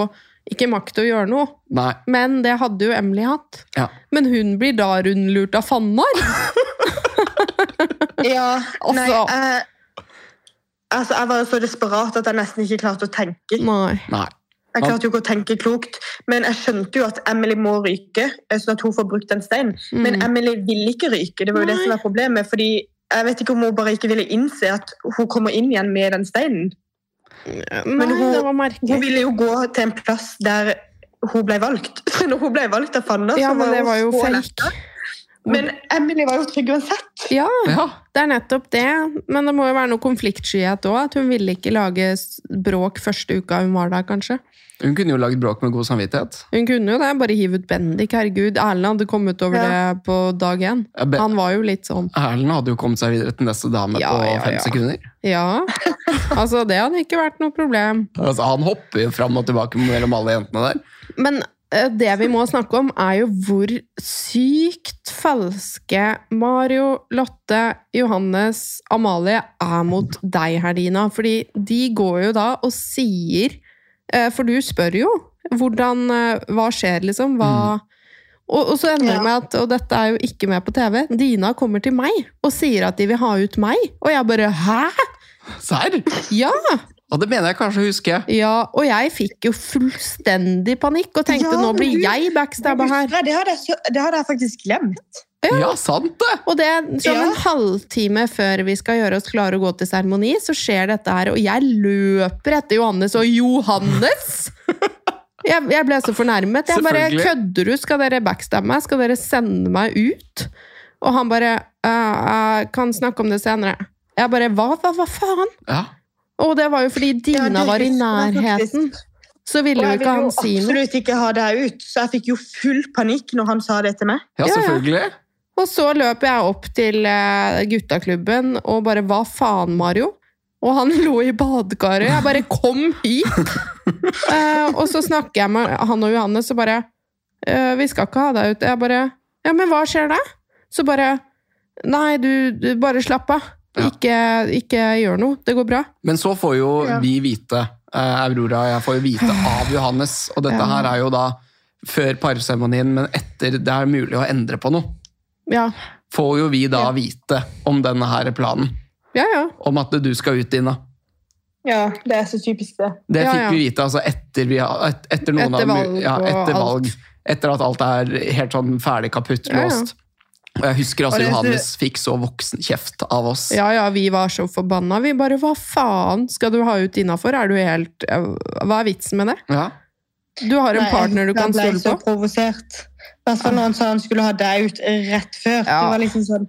Speaker 1: ikke makt til å gjøre noe.
Speaker 2: Nei,
Speaker 1: Men det hadde jo Emily hatt.
Speaker 2: ja.
Speaker 1: Men hun blir da rundlurt av Fannar!
Speaker 3: ja nei,
Speaker 1: Altså.
Speaker 3: eh, altså, Jeg var så desperat at jeg nesten ikke klarte å tenke.
Speaker 1: Nei.
Speaker 2: Nei.
Speaker 3: Jeg klarte jo ikke å tenke klokt, men jeg skjønte jo at Emily må ryke, eh, sånn at hun får brukt den steinen. Men
Speaker 1: Mm.
Speaker 3: Emily ville ikke ryke, det var jo det
Speaker 1: Nei.
Speaker 3: som var problemet. fordi jeg vet ikke om hun bare ikke ville innse at hun kommer inn igjen med den steinen.
Speaker 1: Nei,
Speaker 3: hun-
Speaker 1: det var
Speaker 3: Hun
Speaker 1: merkelig.
Speaker 3: ville jo gå til en plass der hun ble valgt. Så når hun ble valgt av Fanna,
Speaker 1: Ja,
Speaker 3: så
Speaker 1: men
Speaker 3: var
Speaker 1: det var jo
Speaker 3: så
Speaker 1: fake.
Speaker 3: letta. Men Emily var jo trygg uansett.
Speaker 1: Ja,
Speaker 2: Ja.
Speaker 1: det er nettopp det. Men det må jo være noe konfliktskyhet òg. At hun ville ikke lage s- bråk første uka hun var der, kanskje.
Speaker 2: Hun kunne jo lagd bråk med god samvittighet.
Speaker 1: Hun kunne jo det. Bare hive ut Bendik. Herregud, Erlend hadde kommet over
Speaker 3: Ja.
Speaker 1: det på dag én.
Speaker 2: Ja, Be-
Speaker 1: Han var jo litt sånn
Speaker 2: Erlend hadde jo kommet seg videre til neste dame
Speaker 1: Ja,
Speaker 2: på
Speaker 1: ja,
Speaker 2: fem
Speaker 1: ja.
Speaker 2: sekunder.
Speaker 1: Ja, altså det hadde ikke vært noe problem.
Speaker 2: Altså, han hopper jo fram og tilbake mellom alle jentene der.
Speaker 1: Men eh, det vi må snakke om er jo hvor sykt falske Mario, Lotte, Johannes, Amalie er mot deg, Herdina. Fordi de går jo da og sier eh, For du spør jo hvordan eh, Hva skjer, liksom? Hva og, og så ender det
Speaker 3: Ja.
Speaker 1: med at Og dette er jo ikke med på TV. Dina kommer til meg og sier at de vil ha ut meg. Og jeg bare Hæ?!
Speaker 2: Serr?
Speaker 1: Ja!
Speaker 2: Og det mener jeg kanskje å huske.
Speaker 1: Ja, og jeg fikk jo fullstendig panikk og tenkte
Speaker 3: Ja,
Speaker 1: nå
Speaker 3: men
Speaker 1: blir
Speaker 3: du-
Speaker 1: jeg backstabba her.
Speaker 3: Nei, det hadde, jeg, så- det hadde jeg faktisk glemt.
Speaker 2: Ja, sant det!
Speaker 1: Og det, som
Speaker 3: Ja.
Speaker 1: en halvtime før vi skal gjøre oss klare å gå til seremoni, så skjer dette her, og jeg løper etter Johannes, og Johannes! Jeg, jeg ble så fornærmet. Jeg bare
Speaker 2: Selvfølgelig.
Speaker 1: Kødder du? Skal dere backstabbe meg? Skal dere sende meg ut? Og han bare «Eh, eh, Kan snakke om det senere. Jeg bare Hva, hva, hva faen?
Speaker 2: Ja.
Speaker 1: Og det var jo fordi
Speaker 3: Ja,
Speaker 1: Dina
Speaker 3: det
Speaker 1: var i
Speaker 3: husker jeg faktisk.
Speaker 1: nærheten, så ville
Speaker 3: Og
Speaker 1: jo
Speaker 3: jeg
Speaker 1: ikke
Speaker 3: ville jo
Speaker 1: han si noe.
Speaker 3: absolutt ikke ha deg ut, så jeg fikk jo full panikk når han sa det til meg.
Speaker 2: ja,
Speaker 1: ja.
Speaker 2: selvfølgelig.
Speaker 1: Og så løp jeg opp til eh, guttaklubben og bare Hva faen, Mario? Og han lå i badekaret. Jeg bare Kom hit! Eh, og så snakker jeg med han og Johannes og bare eh, Vi skal ikke ha deg ut. Jeg bare Ja, men hva skjer da? Så bare Nei, du, du bare slapp av.
Speaker 2: Ja.
Speaker 1: Ikke, ikke gjør noe. Det går bra.
Speaker 2: Men så får jo
Speaker 3: Ja.
Speaker 2: vi vite, eh, Aurora og jeg får jo vite av Johannes, og dette
Speaker 1: Ja.
Speaker 2: her er jo da før parseremonien, men etter det er mulig å endre på noe,
Speaker 1: Ja,
Speaker 2: får jo vi da
Speaker 3: Ja.
Speaker 2: vite om denne her planen,
Speaker 1: ja. ja.
Speaker 2: om at du skal ut, Dina.
Speaker 3: Ja, det er så typisk det.
Speaker 2: Det
Speaker 1: Ja,
Speaker 2: fikk
Speaker 1: ja.
Speaker 2: vi vite altså etter, vi, har- et, etter noen
Speaker 1: Etter
Speaker 2: av mu-
Speaker 1: valg
Speaker 2: ja,
Speaker 1: og
Speaker 2: etter
Speaker 1: alt.
Speaker 2: valg. Etter at alt er helt sånn ferdig kaputt
Speaker 1: Ja, ja.
Speaker 2: låst. Og jeg husker
Speaker 3: Og
Speaker 2: altså
Speaker 3: det-
Speaker 2: Johannes fikk så voksen kjeft av oss.
Speaker 1: Ja, ja, vi var så forbanna. Vi bare Hva faen skal du ha ut innafor? Er du helt eh, Hva er vitsen med det?
Speaker 2: Ja.
Speaker 1: Du har en
Speaker 3: Nei,
Speaker 1: partner du kan stole
Speaker 3: Jeg ble
Speaker 1: på.
Speaker 3: så provosert. I hvert fall når han sa han skulle ha deg ut rett før.
Speaker 1: Ja.
Speaker 3: Det var liksom sånn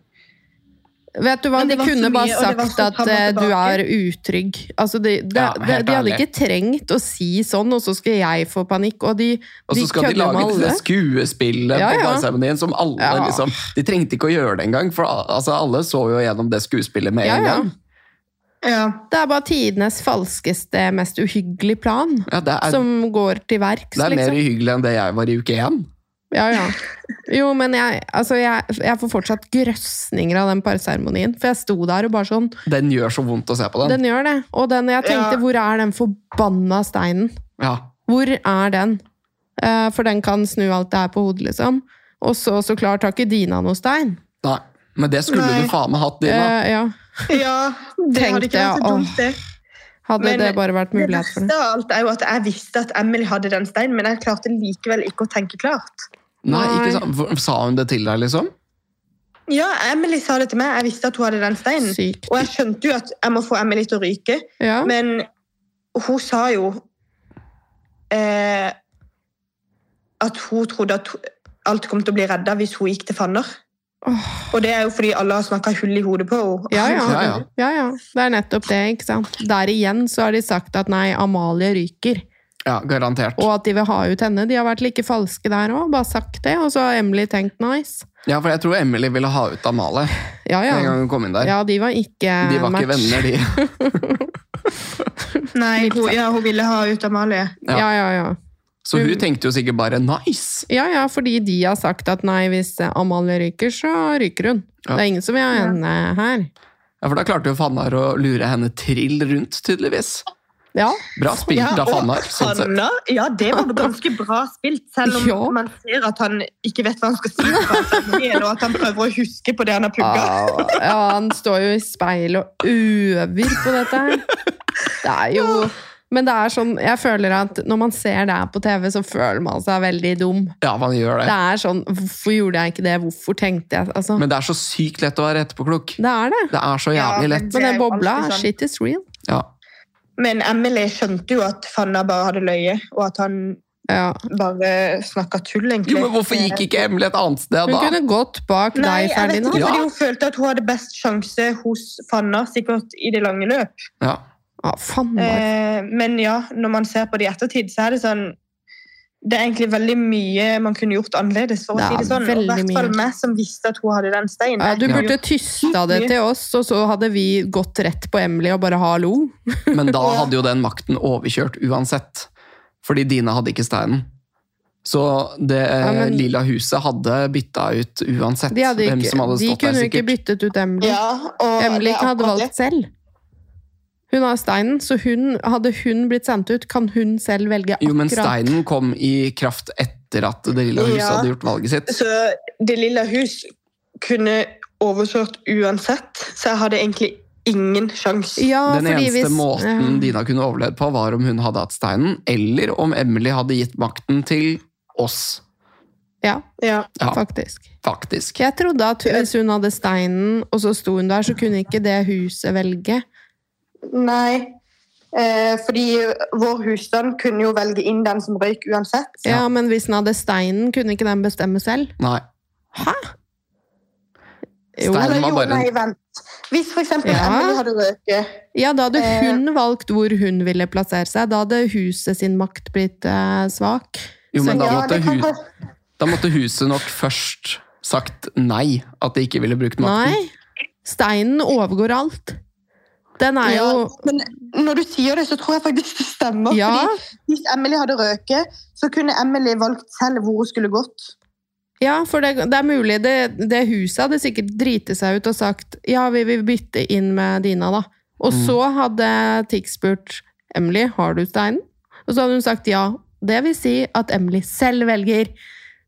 Speaker 1: Vet du hva,
Speaker 3: Men
Speaker 1: De
Speaker 3: det var
Speaker 1: kunne
Speaker 3: så
Speaker 1: bare
Speaker 3: mye, og det var
Speaker 1: sagt
Speaker 3: så
Speaker 1: at
Speaker 3: fram og
Speaker 1: eh, du
Speaker 3: tilbake.
Speaker 1: er utrygg. Altså, de, de,
Speaker 2: Ja,
Speaker 1: de,
Speaker 2: helt
Speaker 1: de hadde
Speaker 2: ærlig.
Speaker 1: ikke trengt å si sånn, og så skal jeg få panikk. Og de,
Speaker 2: Og så
Speaker 1: de
Speaker 2: skal de
Speaker 1: kødder
Speaker 2: lage
Speaker 1: med
Speaker 2: det
Speaker 1: alle.
Speaker 2: skuespillet
Speaker 1: Ja,
Speaker 2: på
Speaker 1: ja.
Speaker 2: parseremonien som alle
Speaker 1: Ja.
Speaker 2: liksom De trengte ikke å gjøre det engang, for al- altså, alle så jo gjennom det skuespillet med
Speaker 1: Ja,
Speaker 2: en
Speaker 1: ja.
Speaker 2: gang.
Speaker 3: Ja.
Speaker 1: Det er bare tidenes falskeste, mest uhyggelige plan
Speaker 2: Ja, det er,
Speaker 1: som går til verks,
Speaker 2: det er mer
Speaker 1: liksom.
Speaker 2: uhyggelig enn det jeg var i uke én.
Speaker 1: Ja, ja. Jo, men jeg, altså, jeg, jeg får fortsatt grøsninger av den parseremonien. For jeg sto der og bare sånn
Speaker 2: Den gjør så vondt å se på den.
Speaker 1: Den gjør det. Og den, jeg tenkte,
Speaker 3: Ja.
Speaker 1: hvor er den forbanna steinen?
Speaker 2: Ja.
Speaker 1: Hvor er den? Eh, for den kan snu alt det her på hodet, liksom. Og så, så klart, har ikke Dina noe stein.
Speaker 2: Nei. Men det skulle
Speaker 3: Nei.
Speaker 2: du faen meg hatt, Dina.
Speaker 1: Eh, ja.
Speaker 3: ja, det
Speaker 1: Tenkte
Speaker 3: hadde ikke vært
Speaker 1: jeg,
Speaker 3: så dumt, det.
Speaker 1: Hadde
Speaker 3: Men
Speaker 1: det bare vært
Speaker 3: Det
Speaker 1: mulighet for det.
Speaker 3: verste av alt er jo at jeg visste at Emily hadde den steinen, men jeg klarte likevel ikke å tenke klart.
Speaker 2: Nei, ikke
Speaker 1: Nei.
Speaker 2: sant? Hvor- Sa hun det til deg, liksom?
Speaker 3: Ja, Emily sa det til meg. Jeg visste at hun hadde den steinen.
Speaker 1: Sykt.
Speaker 3: Og jeg skjønte jo at jeg må få Emily til å ryke,
Speaker 1: Ja.
Speaker 3: men hun sa jo eh, at hun trodde at alt kom til å bli redda hvis hun gikk til Fanner.
Speaker 1: Åh,
Speaker 3: Og det er jo fordi alle har snakka hull i hodet på henne.
Speaker 1: Ja,
Speaker 2: Ja,
Speaker 1: ja.
Speaker 2: ja.
Speaker 1: ja, ja. Det er nettopp det, ikke sant. Der igjen så har de sagt at nei, Amalie ryker.
Speaker 2: Ja, garantert.
Speaker 1: Og at de vil ha ut henne. De har vært like falske der òg, bare sagt det. Og så har Emily tenkt nice.
Speaker 2: Ja, for jeg tror Emily ville ha ut Amalie
Speaker 1: Ja,
Speaker 2: en gang
Speaker 1: ja.
Speaker 2: hun kom inn der.
Speaker 1: Ja, de var ikke
Speaker 2: De var ikke
Speaker 1: match.
Speaker 2: venner, de.
Speaker 3: Nei, hun, ja, hun ville ha ut Amalie.
Speaker 2: Ja.
Speaker 1: Ja, ja, ja.
Speaker 2: Så hun tenkte jo sikkert bare 'nice'.
Speaker 1: Ja, ja, fordi de har sagt at nei, hvis Amalie ryker, så ryker hun.
Speaker 2: Ja.
Speaker 1: Det er ingen som vil ha
Speaker 3: Ja.
Speaker 1: henne her.
Speaker 2: Ja, For da klarte jo Fannar å lure henne trill rundt, tydeligvis.
Speaker 1: Ja,
Speaker 2: Bra spilt
Speaker 3: Ja,
Speaker 2: av
Speaker 3: og
Speaker 2: Fannar. Sånn sett.
Speaker 3: Fannar, ja, det var ganske bra spilt, selv om
Speaker 1: Ja.
Speaker 3: man ser at han ikke vet hva han skal si, hva han skal gjøre, og at han prøver å huske på det han har
Speaker 2: Ah,
Speaker 3: pugga.
Speaker 1: Au. Ah, ja, han står jo i speil og øver på dette her. Det er jo Men det er sånn, jeg føler at når man ser det her på TV, så føler man seg veldig dum.
Speaker 2: Ja, man gjør
Speaker 1: Det
Speaker 2: det.
Speaker 1: er sånn Hvorfor gjorde jeg ikke det? Hvorfor tenkte jeg Altså,
Speaker 2: Men det er så sykt lett å være etterpåklok.
Speaker 1: det er det.
Speaker 2: Det er så
Speaker 3: Ja,
Speaker 2: jævlig
Speaker 3: men-
Speaker 2: lett.
Speaker 1: Men
Speaker 3: Det er
Speaker 1: den
Speaker 3: jo
Speaker 1: bobla,
Speaker 3: alltid sånn.
Speaker 1: shit is real.
Speaker 2: Ja.
Speaker 3: Men Emily skjønte jo at Fannar bare hadde løyet, og at han
Speaker 1: Ja.
Speaker 3: bare snakka tull, egentlig. Eh,
Speaker 2: Jo, men hvorfor gikk ikke Emily et annet sted
Speaker 1: Hun
Speaker 2: da?
Speaker 1: kunne gått bak
Speaker 3: Nei,
Speaker 1: deg,
Speaker 3: jeg vet ikke,
Speaker 1: Ferdinand.
Speaker 2: Ja.
Speaker 3: fordi hun følte at hun hadde best sjanse hos Fannar, sikkert i det lange løp.
Speaker 2: Ja.
Speaker 1: Ja, Ah, faen, Mark.
Speaker 3: Eh, men ja, når man ser på det i ettertid, så er det sånn Det er egentlig veldig mye man kunne gjort annerledes, for å
Speaker 1: Det
Speaker 3: si det
Speaker 1: er
Speaker 3: sånn. Og I
Speaker 1: veldig
Speaker 3: hvert fall
Speaker 1: mye.
Speaker 3: meg som visste at hun hadde den steinen.
Speaker 1: Ja, du
Speaker 3: Jeg
Speaker 1: burde tysta det til oss, og så hadde vi gått rett på Emily og bare hallo.
Speaker 2: Men da
Speaker 3: Ja.
Speaker 2: hadde jo den makten overkjørt uansett. Fordi Dina hadde ikke steinen. Så det eh,
Speaker 1: men-
Speaker 2: lilla huset hadde bytta ut uansett
Speaker 1: De, hadde
Speaker 2: hvem
Speaker 1: ikke,
Speaker 2: som hadde
Speaker 1: de
Speaker 2: stått der,
Speaker 1: kunne jo ikke
Speaker 2: sikkert.
Speaker 1: byttet ut Emily.
Speaker 3: Ja, og
Speaker 1: Emily
Speaker 3: det er
Speaker 1: ikke hadde
Speaker 3: akkurat det.
Speaker 1: valgt selv. Hun har steinen, så hun, hadde hun blitt sendt ut, kan hun selv velge akkurat
Speaker 2: Jo, men steinen kom i kraft etter at det lilla huset
Speaker 3: Ja.
Speaker 2: hadde gjort valget sitt.
Speaker 3: Så Det lille hus kunne overkjørt uansett, så jeg hadde egentlig ingen sjanse.
Speaker 1: Ja,
Speaker 2: Den
Speaker 1: fordi
Speaker 2: eneste
Speaker 1: hvis-
Speaker 2: måten
Speaker 1: ja.
Speaker 2: Dina kunne overlevd på, var om hun hadde hatt steinen, eller om Emily hadde gitt makten til oss,
Speaker 1: Ja,
Speaker 3: Ja.
Speaker 2: Ja.
Speaker 1: faktisk.
Speaker 2: faktisk.
Speaker 1: Jeg trodde at hvis hun hadde steinen, og så sto hun der, så kunne ikke det huset velge.
Speaker 3: Nei. Eh, fordi vår husstand kunne jo velge inn den som røyk uansett.
Speaker 1: Ja, men hvis den hadde steinen, kunne ikke den bestemme selv?
Speaker 2: Nei.
Speaker 1: Jo.
Speaker 2: Stein-
Speaker 3: Eller
Speaker 2: var
Speaker 3: jo,
Speaker 2: bare en-
Speaker 3: nei, vent. Hvis for eksempel
Speaker 1: Ja.
Speaker 3: Emily hadde røyket
Speaker 1: Ja, da hadde
Speaker 3: Eh.
Speaker 1: hun valgt hvor hun ville plassere seg. Da hadde huset sin makt blitt eh, svak.
Speaker 2: Jo, men
Speaker 1: Så
Speaker 2: da
Speaker 3: ja,
Speaker 2: måtte,
Speaker 3: det kan
Speaker 2: hu
Speaker 3: godt-
Speaker 2: da måtte huset nok først sagt nei, at de ikke ville brukt makten.
Speaker 1: Nei. Steinen overgår alt. Den er jo
Speaker 3: Ja, men når du sier det, så tror jeg faktisk det stemmer.
Speaker 1: Ja.
Speaker 3: Fordi hvis Emily hadde røket, så kunne Emily valgt selv hvor hun skulle gått.
Speaker 1: Ja, for det, det er mulig. Det, det huset hadde sikkert driti seg ut og sagt ja, vi vil bytte inn med Dina, da. Og
Speaker 2: Mm.
Speaker 1: så hadde Tix spurt Emily, har du steinen? Og så hadde hun sagt ja. Det vil si at Emily selv velger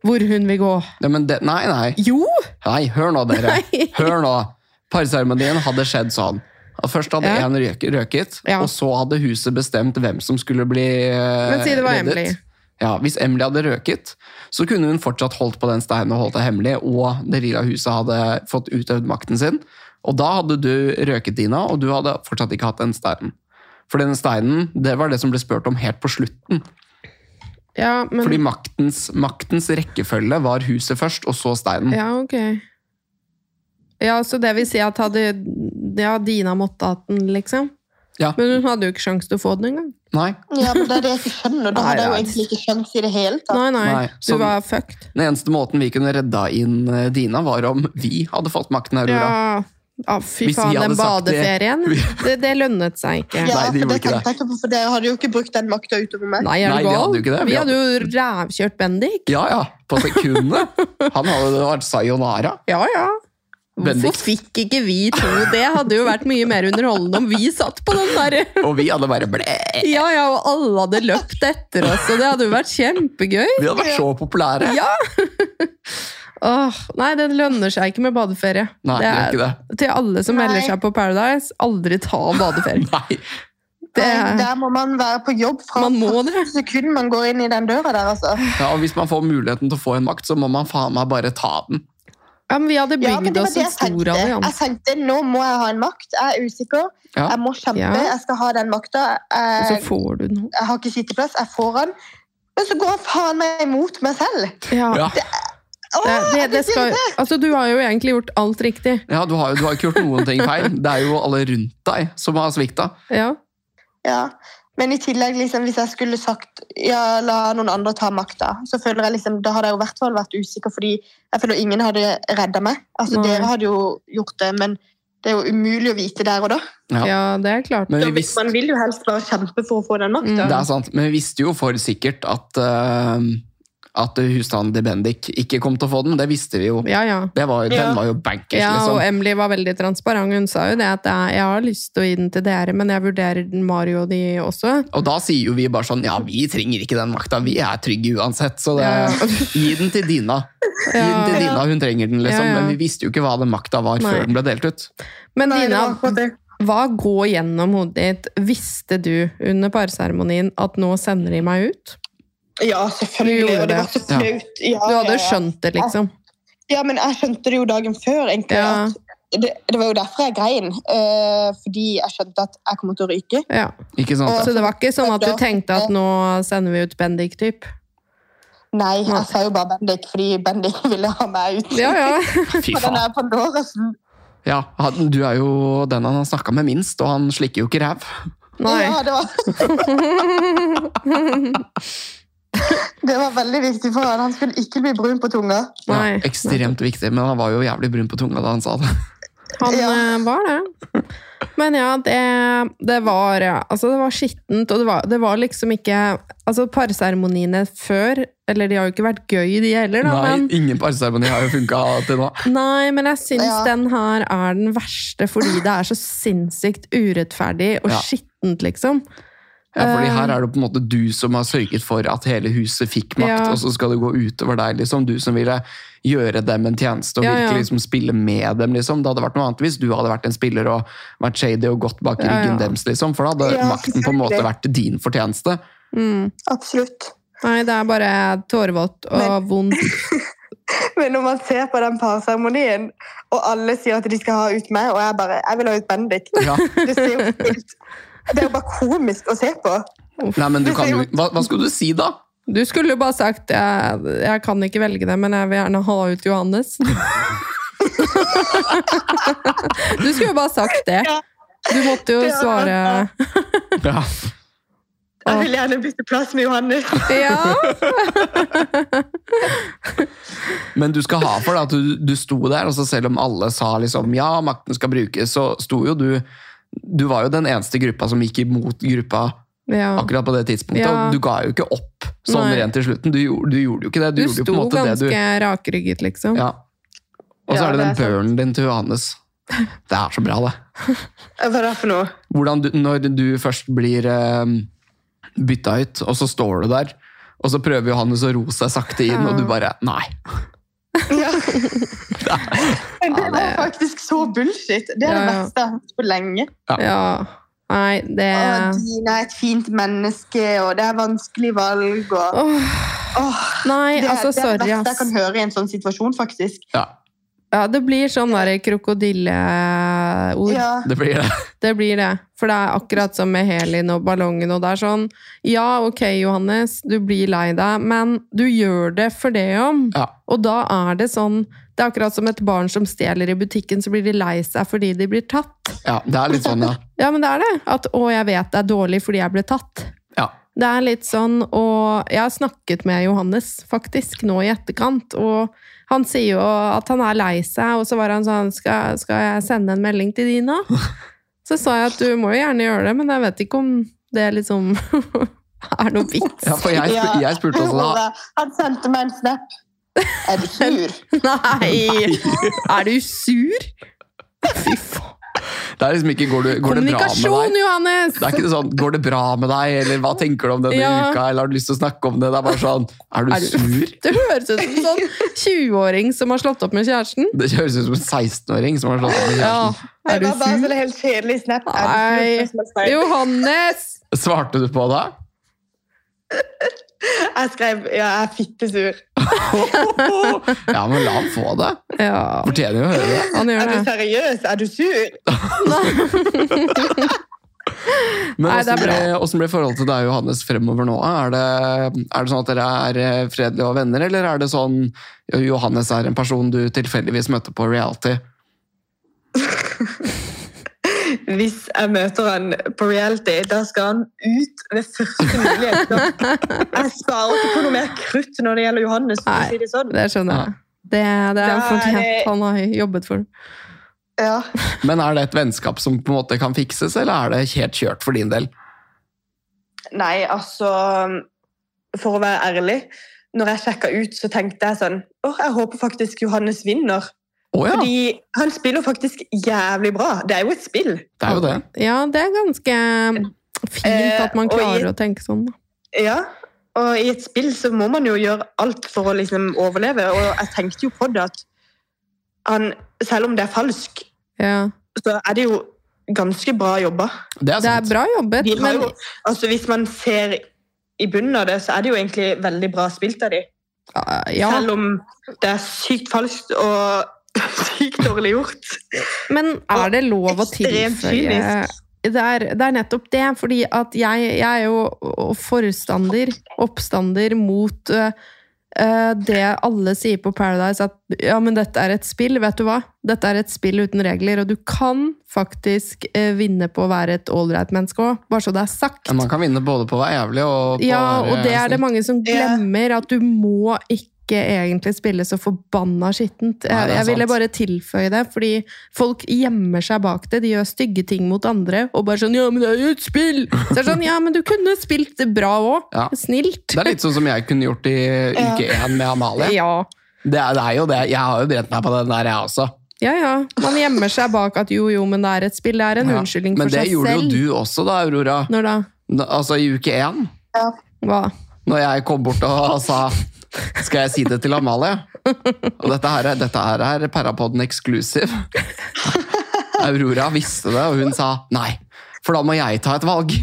Speaker 1: hvor hun vil gå.
Speaker 2: Ja, men det, nei, nei.
Speaker 1: Jo!
Speaker 2: Nei, hør nå, dere.
Speaker 1: Nei.
Speaker 2: Hør nå. Parseremonien hadde skjedd sånn. At Først hadde
Speaker 1: Ja.
Speaker 2: én røk, røket,
Speaker 1: Ja.
Speaker 2: og så hadde huset bestemt hvem som skulle bli eh,
Speaker 1: Men si det var
Speaker 2: reddet.
Speaker 1: Emily.
Speaker 2: Ja, Hvis Emily hadde røket, så kunne hun fortsatt holdt på den steinen og holdt det hemmelig, og det lilla huset hadde fått utøvd makten sin. Og da hadde du røket Dina, og du hadde fortsatt ikke hatt den steinen. For den steinen, det var det som ble spurt om helt på slutten.
Speaker 1: Ja, men
Speaker 2: Fordi maktens, maktens rekkefølge var huset først, og så steinen.
Speaker 1: Ja, ok. Ja, så det vil si at hadde Ja, Dina måtte hatt den, liksom.
Speaker 2: Ja.
Speaker 1: Men hun hadde jo ikke sjanse til å få den engang.
Speaker 2: Nei.
Speaker 3: Ja, men det er det jeg ikke skjønner. Da
Speaker 1: Nei,
Speaker 3: hadde jeg jo
Speaker 1: nei.
Speaker 3: egentlig ikke skjønt i det hele tatt.
Speaker 1: Nei, nei,
Speaker 2: Nei, sånn
Speaker 1: Du
Speaker 2: så-
Speaker 1: var fucked.
Speaker 2: Den eneste måten vi kunne redda inn eh, Dina, var om vi hadde fått makten, Aurora.
Speaker 1: Ja, ja fy
Speaker 2: Hvis vi
Speaker 1: faen, den
Speaker 2: hadde sagt det-
Speaker 1: badeferien. Det, det lønnet seg ikke.
Speaker 3: Ja,
Speaker 2: Nei, de
Speaker 3: for
Speaker 2: gjorde
Speaker 3: det
Speaker 2: ikke det.
Speaker 3: tenkte jeg ikke på, for dere hadde jo ikke brukt den makta utover meg.
Speaker 1: Nei, er
Speaker 2: Nei,
Speaker 1: du
Speaker 2: vi
Speaker 1: gal?
Speaker 2: hadde jo ikke det. Vi
Speaker 1: Vi hadde jo rævkjørt Bendik.
Speaker 2: Ja, ja, på sekundet. Han hadde det vært sayonara.
Speaker 1: Ja, ja. Hvorfor
Speaker 2: Bendik.
Speaker 1: fikk ikke vi to det? Hadde jo vært mye mer underholdende om vi satt på den derre
Speaker 2: Og vi hadde bare blæ!
Speaker 1: Ja, ja, og alle hadde løpt etter oss, og det hadde jo vært kjempegøy.
Speaker 2: Vi hadde vært så populære.
Speaker 1: Ja! Åh, nei, det lønner seg ikke med badeferie.
Speaker 2: Nei, det er ikke det.
Speaker 1: Til alle som
Speaker 3: Nei.
Speaker 1: melder seg på Paradise, aldri ta badeferie.
Speaker 2: Nei.
Speaker 1: Det,
Speaker 3: Nei, Der må man være på jobb fra
Speaker 1: man må det.
Speaker 3: sekund man går inn i den døra der, altså.
Speaker 2: Ja, og hvis man får muligheten til å få en makt, så må man faen meg bare ta den.
Speaker 1: Ja, men vi hadde
Speaker 3: Ja, men
Speaker 1: bygd
Speaker 3: det var
Speaker 1: oss
Speaker 3: det
Speaker 1: en
Speaker 3: jeg tenkte.
Speaker 1: stor allianse.
Speaker 3: Jeg tenkte, nå må jeg ha en makt. Jeg er usikker.
Speaker 2: Ja.
Speaker 3: Jeg må kjempe.
Speaker 1: Ja.
Speaker 3: Jeg skal ha den makta.
Speaker 1: Og så
Speaker 3: Jeg,
Speaker 1: får du noe.
Speaker 3: jeg har ikke sitteplass. Jeg får den. Men så går han faen meg imot meg selv.
Speaker 1: Ja.
Speaker 2: Ja,
Speaker 1: Det,
Speaker 3: Åh,
Speaker 1: det, det
Speaker 3: jeg blir
Speaker 1: skal, altså, du har jo egentlig gjort alt riktig.
Speaker 2: ja du, har, jo- du har ikke gjort noen ting feil. Det er jo alle rundt deg som har svikta.
Speaker 1: Ja.
Speaker 3: Ja. Men i tillegg, liksom, hvis jeg skulle sagt ja, la noen andre ta makta, så føler jeg liksom, da hadde jeg jo i hvert fall vært usikker, fordi jeg føler ingen hadde redda meg. Altså,
Speaker 1: Nei.
Speaker 3: Dere hadde jo gjort det, men det er jo umulig å vite der og da.
Speaker 2: Ja.
Speaker 1: Ja, det er klart.
Speaker 2: Men
Speaker 3: da
Speaker 2: vi
Speaker 3: vil-
Speaker 2: visste,
Speaker 3: Man vil jo helst bare kjempe for å få den makta.
Speaker 1: Mm.
Speaker 2: det er sant, men vi visste jo for sikkert at, eh, at husstanden til Bendik ikke kom til å få den. Det visste vi jo.
Speaker 1: Ja, ja.
Speaker 2: Det var, jo-
Speaker 3: Ja.
Speaker 2: Den var jo bankers,
Speaker 1: Ja, og
Speaker 2: liksom.
Speaker 1: Emily var veldig transparent. Hun sa jo det at jeg, jeg har lyst til å gi den til dere, men jeg vurderer den Mario og de også.
Speaker 2: Og da sier jo vi bare sånn Ja, vi trenger ikke den makta, vi er trygge uansett. Så det,
Speaker 1: Ja.
Speaker 2: gi den til Dina. Gi den til
Speaker 3: Ja.
Speaker 2: Dina, hun trenger den,
Speaker 1: Ja,
Speaker 2: liksom.
Speaker 1: ja.
Speaker 2: Men vi visste jo ikke hva den makta var
Speaker 1: Nei.
Speaker 2: før den ble delt ut.
Speaker 1: Men
Speaker 3: Nei, det
Speaker 1: Dina,
Speaker 3: var akkurat det.
Speaker 1: hva går gjennom hodet ditt? Visste du under parseremonien at nå sender de meg ut?
Speaker 3: Ja,
Speaker 1: Du
Speaker 3: selvfølgelig.
Speaker 1: gjorde
Speaker 3: Og det
Speaker 1: det.
Speaker 3: var så
Speaker 2: Ja.
Speaker 3: flaut. Ja,
Speaker 1: Du hadde
Speaker 3: ja,
Speaker 1: jo
Speaker 3: ja.
Speaker 1: skjønt det, liksom.
Speaker 3: Ja, men jeg skjønte det jo dagen før, egentlig.
Speaker 1: Ja.
Speaker 3: At det, det var jo derfor jeg grein. eh, fordi jeg skjønte at jeg kommer til å ryke.
Speaker 1: Ja.
Speaker 2: Ikke sant?
Speaker 1: Så det var ikke sånn at du tenkte at nå sender vi ut Bendik, typ?
Speaker 3: Nei,
Speaker 1: Nei.
Speaker 3: jeg sa jo bare Bendik, fordi Bendik ville ha meg ut.
Speaker 1: Ja, ja.
Speaker 2: Fy
Speaker 3: På
Speaker 2: faen.
Speaker 3: den der Pandorasen.
Speaker 2: Ja, han- du er jo den han har snakka med minst, og han slikker jo ikke ræv.
Speaker 1: Nei.
Speaker 3: Ja, det, var, det var veldig viktig for han. Han skulle ikke bli brun på tunga.
Speaker 2: Ja,
Speaker 1: Nei.
Speaker 2: ekstremt viktig, men han var jo jævlig brun på tunga da han sa det.
Speaker 1: Han
Speaker 3: Ja.
Speaker 1: eh, var det. Men ja, det, det var ja, altså det var skittent, og det var, det var liksom ikke Altså, parseremoniene før Eller de har jo ikke vært gøy, de heller, da,
Speaker 2: Nei,
Speaker 1: men
Speaker 2: ingen parseremoni har jo funka til nå.
Speaker 1: Nei, men jeg syns
Speaker 3: Ja.
Speaker 1: den her er den verste, fordi det er så sinnssykt urettferdig og
Speaker 2: Ja.
Speaker 1: skittent, liksom.
Speaker 2: Ja, fordi
Speaker 1: Eh.
Speaker 2: her er det på en måte du som har sørget for at hele huset fikk makt,
Speaker 1: Ja.
Speaker 2: og så skal det gå utover deg, liksom. Du som ville gjøre dem en tjeneste og
Speaker 1: Ja, ja.
Speaker 2: virkelig liksom spille med dem, liksom. Det hadde vært noe annet hvis du hadde vært en spiller og vært shady og gått bak
Speaker 1: Ja, ja.
Speaker 2: ryggen deres, liksom. For da hadde
Speaker 3: Ja,
Speaker 2: makten på en måte vært din fortjeneste.
Speaker 1: Mm.
Speaker 3: Absolutt.
Speaker 1: Nei, det er bare tårevått og vondt.
Speaker 3: Men når man ser på den parseremonien, og alle sier at de skal ha ut meg, og jeg bare Jeg vil ha ut Bendik.
Speaker 2: Ja.
Speaker 3: Det, ser jo helt, det er jo bare komisk å se på.
Speaker 2: Nei, men du kan jo Hva, hva skulle du si da?
Speaker 1: Du skulle jo bare sagt jeg, 'jeg kan ikke velge det, men jeg vil gjerne ha ut Johannes'. du skulle jo bare sagt det.
Speaker 3: Ja.
Speaker 1: Du måtte jo
Speaker 3: Ja,
Speaker 1: svare
Speaker 2: Ja.
Speaker 3: Jeg vil gjerne bytte plass med Johannes.
Speaker 1: Ja!
Speaker 2: Men du skal ha for det at du, du sto der, og så selv om alle sa liksom, ja, makten skal brukes, så sto jo du Du var jo den eneste gruppa som gikk imot gruppa
Speaker 1: ja.
Speaker 2: akkurat på det tidspunktet.
Speaker 1: Ja.
Speaker 2: Og du ga jo ikke opp sånn
Speaker 1: Nei.
Speaker 2: rent til slutten. Du, gjorde- du gjorde jo ikke det. Du,
Speaker 1: Du
Speaker 2: gjorde jo på
Speaker 1: sto
Speaker 2: en måte det du
Speaker 1: ganske rakrygget, liksom.
Speaker 2: ja. Og så
Speaker 3: Ja,
Speaker 2: er det
Speaker 3: det
Speaker 2: den
Speaker 3: er sant.
Speaker 2: burnen din til Johannes. Det er så bra, det.
Speaker 3: Hva er det for noe?
Speaker 2: Hvordan du, når du først blir eh, bytta ut, og så står du der, og så prøver Johannes å ro seg sakte inn, og du bare Nei.
Speaker 3: Ja. Men det var faktisk så bullshit. Det er
Speaker 1: Ja, ja.
Speaker 3: det verste jeg har hørt på lenge.
Speaker 1: Ja. Nei, det
Speaker 3: Å, Dina er et fint menneske, og det er vanskelig valg. Og...
Speaker 1: Åh,
Speaker 3: Åh,
Speaker 1: Nei,
Speaker 3: det, er-
Speaker 1: altså,
Speaker 3: det er
Speaker 1: sorry,
Speaker 3: det verste jeg kan
Speaker 1: ass.
Speaker 3: høre i en sånn situasjon, faktisk.
Speaker 2: Ja,
Speaker 1: Ja, det blir sånn der krokodilleord.
Speaker 3: Ja,
Speaker 2: det blir det.
Speaker 1: Det blir det. For det er akkurat som med Helin og ballongen. Og det er sånn Ja, ok, Johannes, du blir lei deg, men du gjør det for det om.
Speaker 2: Ja.
Speaker 1: Og da er det sånn Det er akkurat som et barn som stjeler i butikken, så blir de lei seg fordi de blir tatt.
Speaker 2: ja, det er litt sånn, ja.
Speaker 1: Ja, men det er det. At 'Å, jeg vet det er dårlig fordi jeg ble tatt'.
Speaker 2: Ja.
Speaker 1: Det er litt sånn, og jeg har snakket med Johannes faktisk nå i etterkant, og han sier jo at han er lei seg, og så var han sånn, skal, skal jeg sende en melding til Dina? Så sa jeg at du må jo gjerne gjøre det, men jeg vet ikke om det liksom er noe vits.
Speaker 2: ja for jeg, spu,
Speaker 3: Ja.
Speaker 2: jeg spurte også da.
Speaker 3: Han sendte meg en snap. Er du sur?
Speaker 1: Nei! Er du sur? Fy faen.
Speaker 2: Det er liksom ikke går, du, går det bra med
Speaker 1: Kommunikasjon,
Speaker 2: deg?
Speaker 1: Johannes!
Speaker 2: Det er ikke sånn 'går det bra med deg', eller 'hva tenker du om denne
Speaker 1: Ja.
Speaker 2: uka', eller 'har du lyst til å snakke om det'? Det er bare sånn 'er du
Speaker 1: Er du-
Speaker 2: sur'?
Speaker 1: Det høres ut som en sånn 20-åring som har slått opp med kjæresten.
Speaker 2: Det høres ut som en 16-åring som har slått opp med
Speaker 1: Ja.
Speaker 2: kjæresten.
Speaker 1: Er du
Speaker 3: det var bare en
Speaker 1: sur?
Speaker 3: sånn helt kjedelig snap. Er du
Speaker 1: Nei.
Speaker 3: sur? Spørsmålstegn.
Speaker 1: Johannes!
Speaker 2: Svarte du på det?
Speaker 3: Jeg skrev ja, jeg er fittesur.
Speaker 2: Ja, men la han få det.
Speaker 1: Ja,
Speaker 2: Fortjener jo å høre det.
Speaker 1: han
Speaker 3: Er
Speaker 1: gjør
Speaker 3: du
Speaker 1: det.
Speaker 3: seriøs? Er du sur?
Speaker 2: Men
Speaker 1: Nei, det er
Speaker 2: åssen ble, hvordan ble forholdet til deg og Johannes fremover nå? Er det, er det sånn at dere er eh, fredelige og venner, eller er det sånn Johannes er en person du tilfeldigvis møtte på reality?
Speaker 3: hvis jeg møter han på reality, da skal han ut ved første mulighet. Da- Jeg sparer ikke på noe mer krutt når det gjelder Johannes. for
Speaker 1: Nei.
Speaker 3: å si det sånn.
Speaker 1: Det skjønner jeg. Det, det er
Speaker 3: Da er
Speaker 1: fortjent.
Speaker 3: det-
Speaker 1: Han har jobbet for det.
Speaker 3: Ja.
Speaker 2: Men er det et vennskap som på en måte kan fikses, eller er det helt kjørt for din del?
Speaker 3: Nei, altså For å være ærlig, når jeg sjekka ut, så tenkte jeg sånn Åh, jeg håper faktisk Johannes vinner.
Speaker 2: Å ja,
Speaker 3: Fordi han spiller faktisk jævlig bra. Det er jo et spill.
Speaker 2: det er jo det.
Speaker 1: Ja, det er ganske fint
Speaker 3: Eh,
Speaker 1: at man
Speaker 3: og i-
Speaker 1: klarer å tenke sånn. da.
Speaker 3: Ja, og i et spill så må man jo gjøre alt for å liksom overleve, og jeg tenkte jo på det at han, selv om det er falsk,
Speaker 1: Ja.
Speaker 3: så er det jo ganske bra jobba.
Speaker 2: Det er
Speaker 1: Det er
Speaker 2: sant.
Speaker 1: bra jobbet,
Speaker 3: De har
Speaker 1: men
Speaker 3: jo, altså hvis man ser i bunnen av det, så er det jo egentlig veldig bra spilt av de.
Speaker 1: ja.
Speaker 3: Selv om det er sykt falskt og sykt dårlig gjort.
Speaker 1: Men er det lov å
Speaker 3: Ekstremt
Speaker 1: tilføye
Speaker 3: kynisk.
Speaker 1: det er, det er nettopp det, fordi at jeg, jeg er jo forstander, oppstander mot eh, eh, det alle sier på Paradise, at ja, men dette er et spill, vet du hva? Dette er et spill uten regler, og du kan faktisk eh, vinne på å være et ålreit menneske òg, bare så det er sagt.
Speaker 2: Men Man kan vinne både på å være jævlig og på
Speaker 1: Ja,
Speaker 2: å være
Speaker 1: og det er det
Speaker 2: snill.
Speaker 1: mange som
Speaker 3: Ja.
Speaker 1: glemmer, at du må ikke egentlig spille så forbanna skittent.
Speaker 2: Nei,
Speaker 1: Jeg,
Speaker 2: det er
Speaker 1: jeg ville
Speaker 2: sant.
Speaker 1: bare tilføye det, fordi folk gjemmer seg bak det. De gjør stygge ting mot andre, og bare sånn 'ja, men det er jo et spill'! Så er det sånn, ja, men du kunne spilt det bra òg.
Speaker 2: Ja.
Speaker 1: Snilt.
Speaker 2: Det er litt sånn som jeg kunne gjort i uke én med Amalie.
Speaker 1: Ja.
Speaker 2: Det er, det er jo det. Jeg har jo brent meg på den der, jeg også.
Speaker 1: ja, ja. Man gjemmer seg bak at jo, jo, men det er et spill. Det er en
Speaker 2: Ja.
Speaker 1: unnskyldning
Speaker 2: Men
Speaker 1: for
Speaker 2: det
Speaker 1: seg
Speaker 2: gjorde
Speaker 1: selv.
Speaker 2: jo du også, da, Aurora.
Speaker 1: Når da?
Speaker 2: N- Altså i uke én.
Speaker 1: Hva?
Speaker 2: Når jeg kom bort og sa Skal jeg si det til Amalie? Og dette her, er- dette her er Parapodden exclusive. Aurora visste det, og hun sa nei. For da må jeg ta et valg.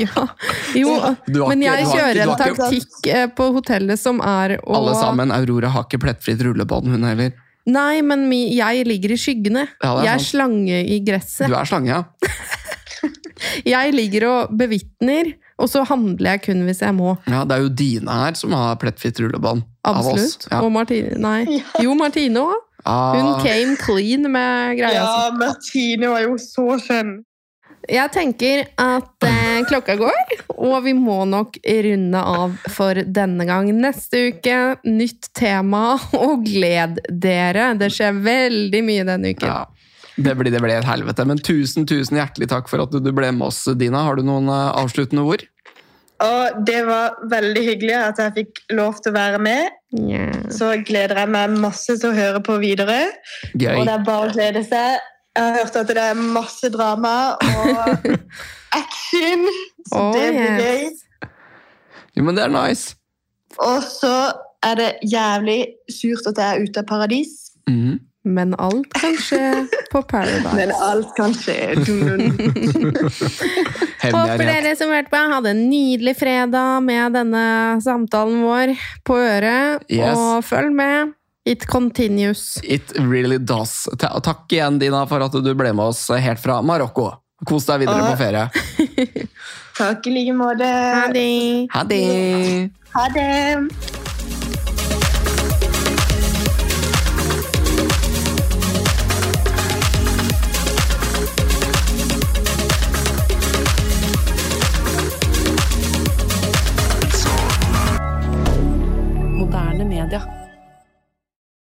Speaker 1: Ja. Jo,
Speaker 2: Du har
Speaker 1: men
Speaker 2: ikke-
Speaker 1: jeg
Speaker 2: du har ikke-
Speaker 1: kjører
Speaker 2: du
Speaker 1: en
Speaker 2: har ikke-
Speaker 1: taktikk eh, på hotellet som er å
Speaker 2: Alle sammen, Aurora har ikke plettfritt rullebånd, hun heller.
Speaker 1: Nei, men mi, jeg ligger i skyggene.
Speaker 2: Ja, det er
Speaker 1: jeg er
Speaker 2: sant.
Speaker 1: slange i gresset.
Speaker 2: Du er slange, ja.
Speaker 1: Jeg ligger og bevitner, og så handler jeg kun hvis jeg må.
Speaker 2: ja. Det er jo Dine her som har plettfritt rullebånd. Av oss.
Speaker 1: Absolutt. Og Martine Nei. Jo, Martine òg. Hun
Speaker 2: Ah,
Speaker 1: came clean med greia si.
Speaker 3: Ja, Martine var jo så skjønn.
Speaker 1: Jeg tenker at eh, klokka går, og vi må nok runde av for denne gang. Neste uke, nytt tema, og gled dere! Det skjer veldig mye denne uken.
Speaker 2: ja. Det blir, det blir et helvete. Men tusen tusen hjertelig takk for at du ble med oss, Dina. Har du noen eh, avsluttende ord?
Speaker 3: Og det var veldig hyggelig at jeg fikk lov til å være med.
Speaker 1: Nja.
Speaker 3: Så gleder jeg meg masse til å høre på videre.
Speaker 2: Gøy.
Speaker 3: Og det er bare å glede seg. Jeg har hørt at det er masse drama og action. Så
Speaker 1: Oh,
Speaker 3: det blir gøy.
Speaker 1: yes.
Speaker 2: Jo, men det er nice.
Speaker 3: Og så er det jævlig surt at jeg er ute av paradis.
Speaker 2: Mhm.
Speaker 1: Men alt kan skje på Paradise.
Speaker 3: Men alt kan skje. Dun-dun.
Speaker 2: Hevngjerrighet.
Speaker 1: Håper dere som hørte på, hadde en nydelig fredag med denne samtalen vår på øret.
Speaker 2: Yes.
Speaker 1: Og følg med. It continues.
Speaker 2: It really does. Ta takk igjen, Dina, for at du ble med oss helt fra Marokko. Kos deg videre
Speaker 3: Ah.
Speaker 2: på ferie.
Speaker 3: Takk i like måte.
Speaker 1: Ha det!
Speaker 2: Ha det!
Speaker 3: Ha det.
Speaker 4: Moderne media.